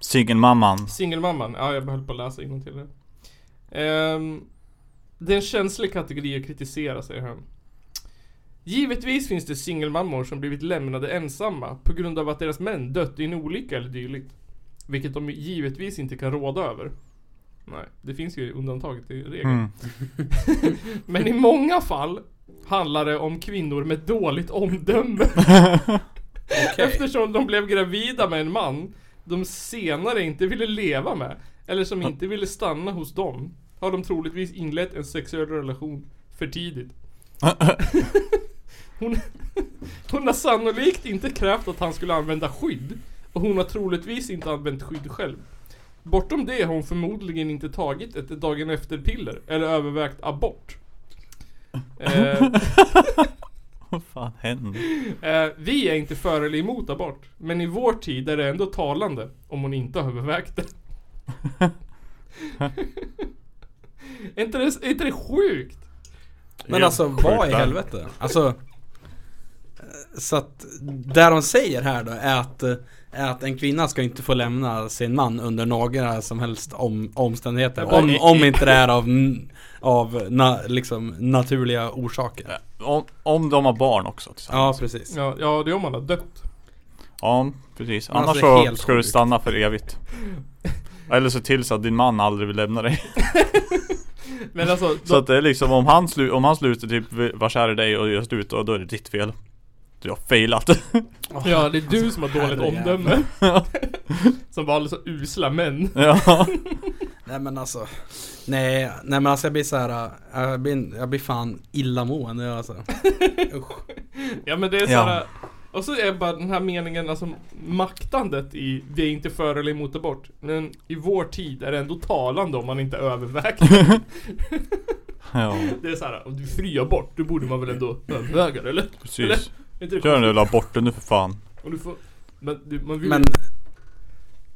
Singelmamman. Singelmamman, ja jag höll på att läsa innantill det Ehm, Det är en känslig kategori att kritisera säger han Givetvis finns det singelmammor som blivit lämnade ensamma på grund av att deras män dött i en olycka eller dylikt. Vilket de givetvis inte kan råda över. Nej, det finns ju undantag till regeln. Mm. Men i många fall handlar det om kvinnor med dåligt omdöme. Okej. Eftersom de blev gravida med en man de senare inte ville leva med. Eller som inte ville stanna hos dem. Har de troligtvis inlett en sexuell relation för tidigt. hon, hon har sannolikt inte krävt att han skulle använda skydd. Och hon har troligtvis inte använt skydd själv. Bortom det har hon förmodligen inte tagit ett dagen efter piller eller övervägt abort. Eh, [laughs] Vad fan händer? Eh, vi är inte för eller emot abort, men i vår tid är det ändå talande om hon inte har övervägt det. [laughs] är, inte det är inte det sjukt? Men alltså vad i Sjukt, va? helvete? Alltså eh, så att där de säger här då är att, eh, är att en kvinna ska inte få lämna sin man under några som helst om, omständigheter. Om, om inte det är av, n- av na, liksom naturliga orsaker. Om, om de har barn också Ja tillsammans. precis. Ja, ja det är om man har dött. Ja, precis. Men alltså, Annars det är så helt ska du sjukt. stanna för [laughs] evigt. Eller se till så att din man aldrig vill lämna dig. Men alltså, Så då, att det är liksom om han, slu, om han slutar typ var kär i dig och gör slut, och då är det ditt fel. Du har failat. [laughs] ja det är du som har dåligt herrejävlar. omdöme. som var alldeles så usla män. ja. Nej men alltså. Nej, nej men alltså jag blir så här. eh, Jag blir, jag blir fan illamående alltså. Usch. Ja men det är Ja. såhär Och så är bara den här meningen, alltså maktandet i Vi är inte för eller emot abort Men i vår tid är det ändå talande om man inte övervägt [laughs] det. ja, Det är såhär, om du är fri abort, då borde man väl ändå överväga det eller? Eller? Är precis. inte det Gör den konstigt? där lilla aborten nu för fan. Om du får Men du, man vill Men,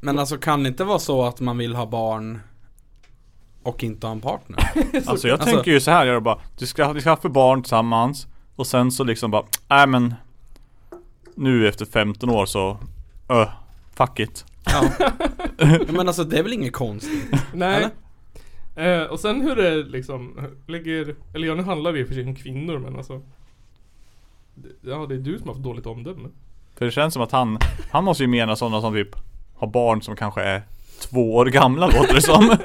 men alltså kan det inte vara så att man vill ha barn och inte ha en partner? Alltså jag Alltså- tänker ju så här, jag gör bara, du ska, ni skaffar barn tillsammans och sen så liksom bara, nej men nu efter 15 år så, öh, fuck it. Ja. Ja, men alltså det är väl inget konstigt? Nej eh, Och sen hur det liksom lägger Eller ja nu handlar det i och för sig om kvinnor men alltså Det- Ja det är du som har haft dåligt omdöme För det känns som att han, han måste ju mena sådana som typ har barn som kanske är två år gamla låter [laughs] det som.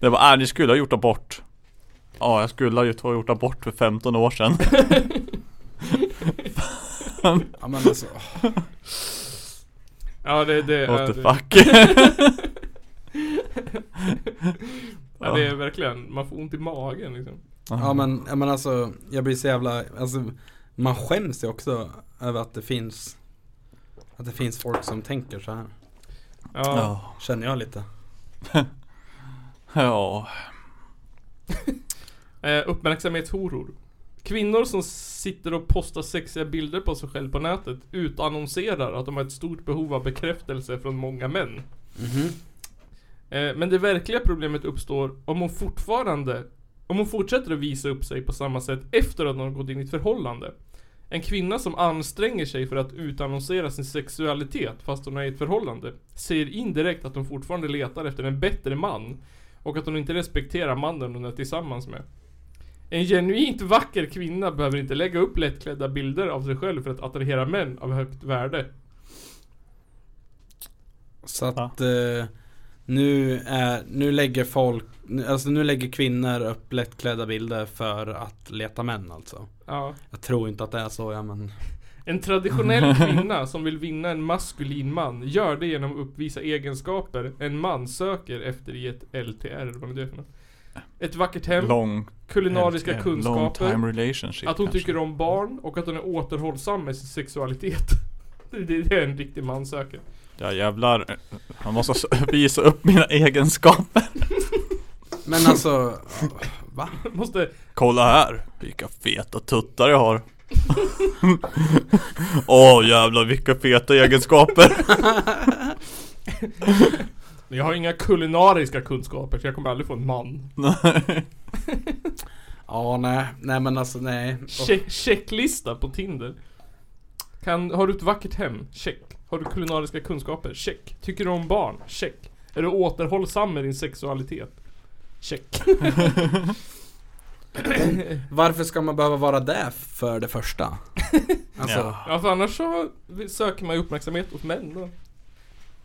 det var, äh, ni skulle ha gjort abort. Ja, jag skulle ha gjort- ha gjort abort för 15 [laughs] år sedan. [laughs] Ja men alltså, Ja det, det What är the fuck. [laughs] ja, det är verkligen, man får ont i magen liksom ja men, ja, men alltså jag blir så jävla, alltså man skäms ju också över att det finns att det finns folk som tänker så här. Ja, Ja. Känner jag lite. Ja. Eh, uppmärksamhetshoror. Kvinnor som sitter och postar sexiga bilder på sig själv på nätet utannonserar att de har ett stort behov av bekräftelse från många män. Eh, men det verkliga problemet uppstår om hon fortfarande, om hon fortsätter att visa upp sig på samma sätt efter att hon har gått in i ett förhållande. En kvinna som anstränger sig för att utannonsera sin sexualitet fast hon är i ett förhållande säger indirekt att hon fortfarande letar efter en bättre man och att hon inte respekterar mannen hon är tillsammans med. En genuint vacker kvinna behöver inte lägga upp lättklädda bilder av sig själv för att attrahera män av högt värde. Så att eh, nu, är, nu lägger folk, nu- alltså nu lägger kvinnor upp lättklädda bilder för att leta män alltså. Ja. Jag tror inte att det är så ja men. En traditionell [laughs] kvinna som vill vinna en maskulin man gör det genom att uppvisa egenskaper en man söker efter i ett LTR, eller vad det är för något. Ett vackert hem, Long, kulinariska long kunskaper, eh, time relationship att hon kanske. tycker om barn och att hon är återhållsam med sin sexualitet. [laughs] Det det är det en riktig man söker. Ja jävlar, han måste s- visa upp mina egenskaper Men [laughs] alltså, va? Måste... Kolla här, vilka feta tuttar jag har [laughs] Åh jävlar vilka feta egenskaper Jag har inga kulinariska kunskaper så jag kommer aldrig få en man. Ja nej, nej men alltså nej. Check, checklista på Tinder. Kan, har du ett vackert hem? Check. Har du kulinariska kunskaper? Check. Tycker du om barn? Check. Är du återhållsam med din sexualitet? Check. Varför ska man behöva vara där för det första? Alltså, Ja. Ja för annars så söker man ju uppmärksamhet åt män då.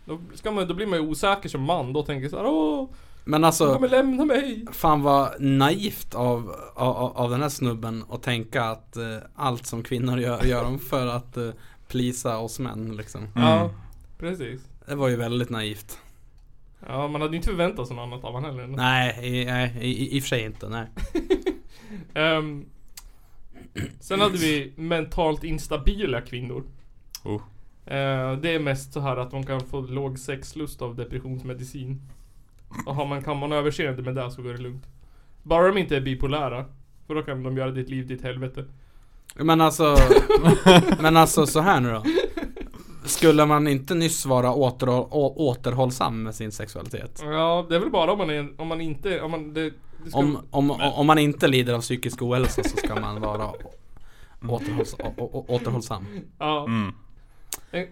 Då, ska man, då blir man ju osäker som man. Då tänker jag såhär åh, Men de alltså, kommer lämna mig. fan vad naivt av, av, av den här snubben att tänka att eh, allt som kvinnor gör, gör de för att eh, plisa oss män liksom. Ja, Mm, precis. Det var ju väldigt naivt. Ja, man hade ju inte förväntat sig något annat av han heller. Nej, i, nej, i, i, i och för sig inte. Nej. Ehm, sen hade vi mentalt instabila kvinnor. Oh. Eh, det är mest så här att de kan få låg sexlust av depressionsmedicin. Och har man, kan man överseende med det så går det lugnt. Bara de inte är bipolära. För då kan de göra ditt liv ditt helvete. Men alltså, men alltså så här nu då. Skulle man inte nyss vara återhåll, å, återhållsam med sin sexualitet? Ja, det är väl bara om man, är, om man inte... Om man, det, det ska, Om, om, om man inte lider av psykisk ohälsa så ska man vara å- återhålls, å, å, återhållsam. ja, Mm.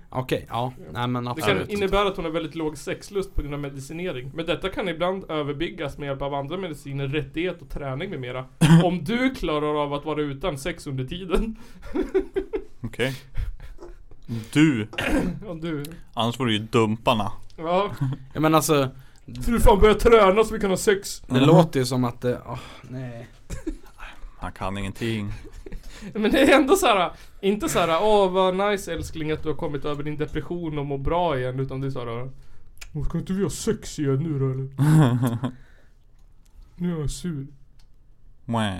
Okej, ja. Nej men det kan absolut. innebära att hon har väldigt låg sexlust på grund av medicinering. Men detta kan ibland överbyggas med hjälp av andra mediciner, rättighet och träning med mera. Om du klarar av att vara utan sex under tiden. Okej Du, Om du... annars vore det ju dumparna Ja, Ja, men alltså, så du fan börja träna så vi kan ha sex. det låter ju som att det, åh, nej. Han kan ingenting Men det är ändå så här. inte så här, åh vad nice älskling att du har kommit över din depression och mår bra igen. Utan det är såhär, åh ska inte vi ha sex igen nu då eller? Nu är jag sur. Mwah.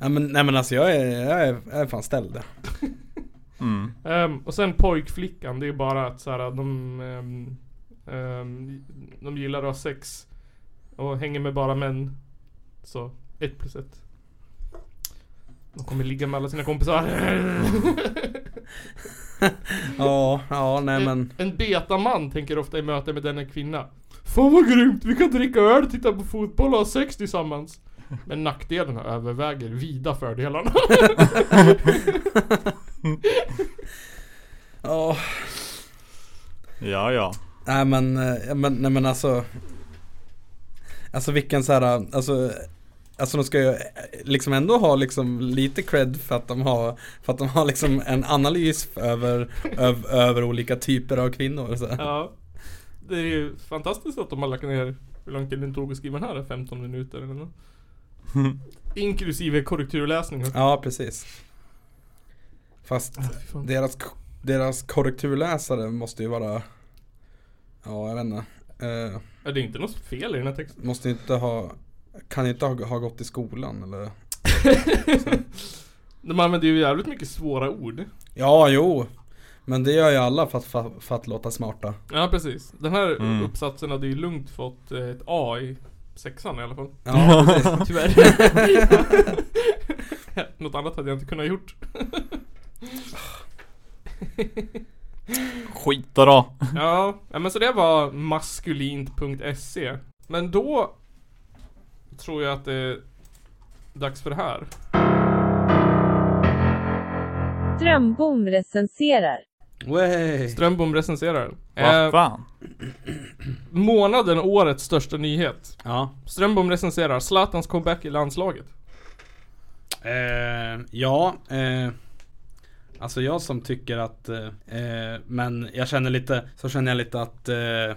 Ja, men, nej men alltså jag är, jag är, jag är fan ställd. Mm. Ehm, och sen pojkflickan, det är bara att så här, de, ehm, ehm, de gillar att ha sex. Och hänger med bara män. Så, ett plus ett. De kommer ligga med alla sina kompisar. Ja, ja nej men. En, en betaman tänker ofta i möte med denna kvinna. Fan vad grymt, vi kan dricka öl, titta på fotboll och ha sex tillsammans. Men nackdelarna överväger vida fördelarna. Ja, Ja ja nej men, eh, ja, men, nej men alltså. Alltså vilken så här, alltså. Alltså de ska ju eh, liksom ändå ha liksom lite cred för att de har, för att de har liksom en analys över, öv, över olika typer av kvinnor. Så. här. ja. Det är ju fantastiskt att de har lagt ner hur lång tid det tog att skriva den här, 15 minuter eller nåt. Inklusive korrekturläsningar. Ja, precis. Fast Ah, fy fan. deras, deras korrekturläsare måste ju vara, ja jag vet inte. Eh, Ja, det är inte något fel i den här texten. [laughs] måste ju inte ha, kan ju inte ha, ha gått i skolan eller? De använder ju jävligt mycket svåra ord. Ja, jo. Men det gör ju alla för att, för, för att låta smarta. Ja, precis. Den här Mm. uppsatsen hade ju lugnt fått eh, ett A i sexan i alla fall. [laughs] Ja, precis. Tyvärr. Något annat hade jag inte kunnat gjort. Skit då Ja, ja, men så det var maskulint.se. E. Men då tror jag att det är dags för det här. Strömbom recenserar. Way. Strömbom recenserar. Vad Eh, fan månaden, årets största nyhet. Ja. Strömbom recenserar Zlatans comeback i landslaget. Eh, ja. Eh, alltså jag som tycker att, eh, eh, men jag känner lite, så känner jag lite att eh,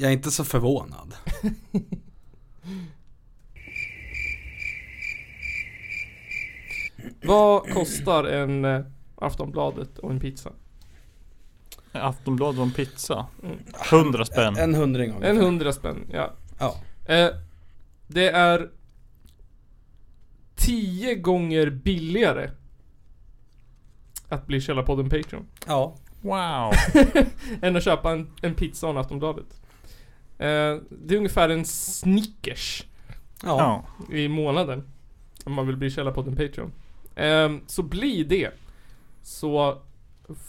jag är inte så förvånad. Vad kostar en eh, Aftonbladet och en pizza? Aftonbladet och en pizza 100 spänn Mm. En hundring av En hundra spänn, ja. Ja. Eh, det är tio gånger billigare att bli Källarpodden Patreon. Ja. Wow Än att köpa en, en pizza och en Aftonbladet. Eh, det är ungefär en Snickers Ja. ja. i månaden. Om man vill bli Källarpodden Patreon. Eh, så bli det. Så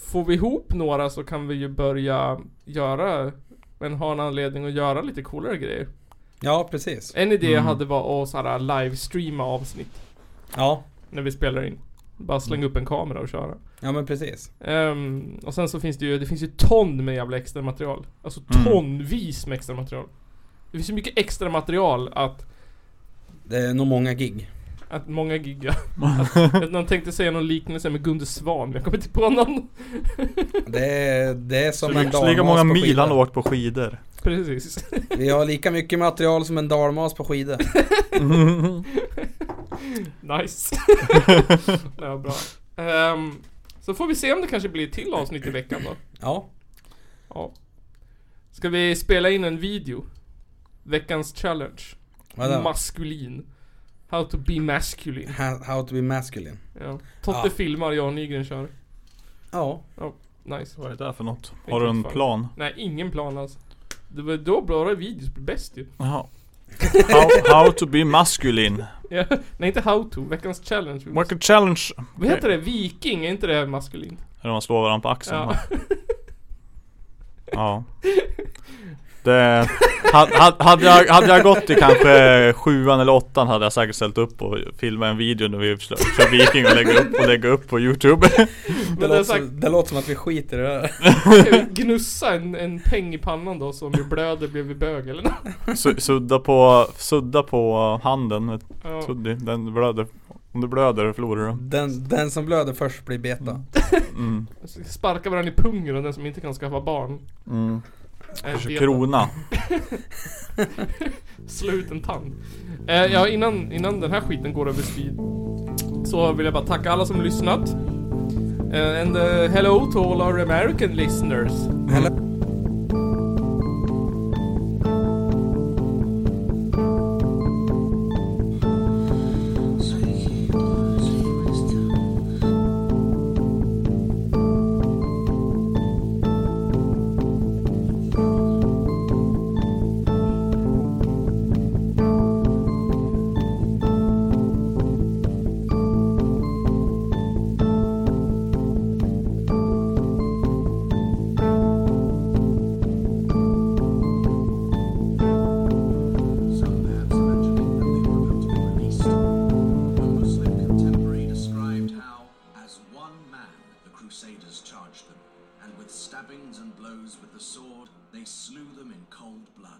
får vi ihop några så kan vi ju börja göra, men ha en anledning att göra lite coolare grejer. Ja, precis. En idé jag Mm. hade var att så här livestreama avsnitt Ja. när vi spelar in. Bara slänga Mm. upp en kamera och köra. Ja men precis. Ehm, och sen så finns det ju, det finns ju ton med jävla extra material. Alltså Mm. tonvis med extra material. Det finns ju mycket extra material att, Det är nog många gig. Att många [laughs] giggar. Att någon tänkte säga någon liknelse med Gunde Svan, men jag kommer inte på någon. [laughs] Det är, det är som en Så dalmas lika många på mil skidor. han har åkt på skidor. Precis. Vi har lika mycket material som en dalmas på skidor. [laughs] Nice. ja, bra. Ehm, så får vi se om det kanske blir ett till avsnitt i veckan då. Ja, Ja. Ska vi spela in en video? Veckans challenge. vadå? Maskulin. How to be masculine. How, how to be masculine. Ja. Totte Ja. filmar, jag och Nygren kör. Ja, Nice. Vad är det där för något? Vet Har du en inte fan. plan? Nej, ingen plan alls. Det var då bara videos blir bäst ju. [laughs] Jaha. How, how to be masculine. Ja. [laughs] Nej, inte how to. Veckans challenge. Vi måste- Work a challenge. Vad heter det? Viking? Är inte det maskulint? Eller man slår varandra på axeln. Ja. [laughs] va? ja. Det, hade, hade, jag, hade jag gått i kanske sjuan eller åttan hade jag säkert ställt upp och filmat en video när vi kör kör Viking och lägger upp, och lägger upp på Youtube. [laughs] det, Men det är låter, sagt, som, det låter som att vi skiter i det där. Ska vi gnussa en, en peng i pannan då så om vi blöder blir vi bög eller nåt? Su- Sudda på, sudda på handen. Ja. Suddig, den blöder. Om du blöder förlorar du. Den, den som blöder först blir beta. Mm. Sparka varandra i pungen och den som inte kan skaffa barn. Mm. Äh, Kanske vet Krona. Slå ut en tand. Eh, ja, innan, innan den här skiten går över speed så vill jag bara tacka alla som lyssnat. Eh, and eh, hello to all our American listeners. Some bands mentioning that they were about to be released. One Muslim contemporary described how, as one man, the Crusaders charged them, and with stabbings and blows with the sword, they slew them in cold blood.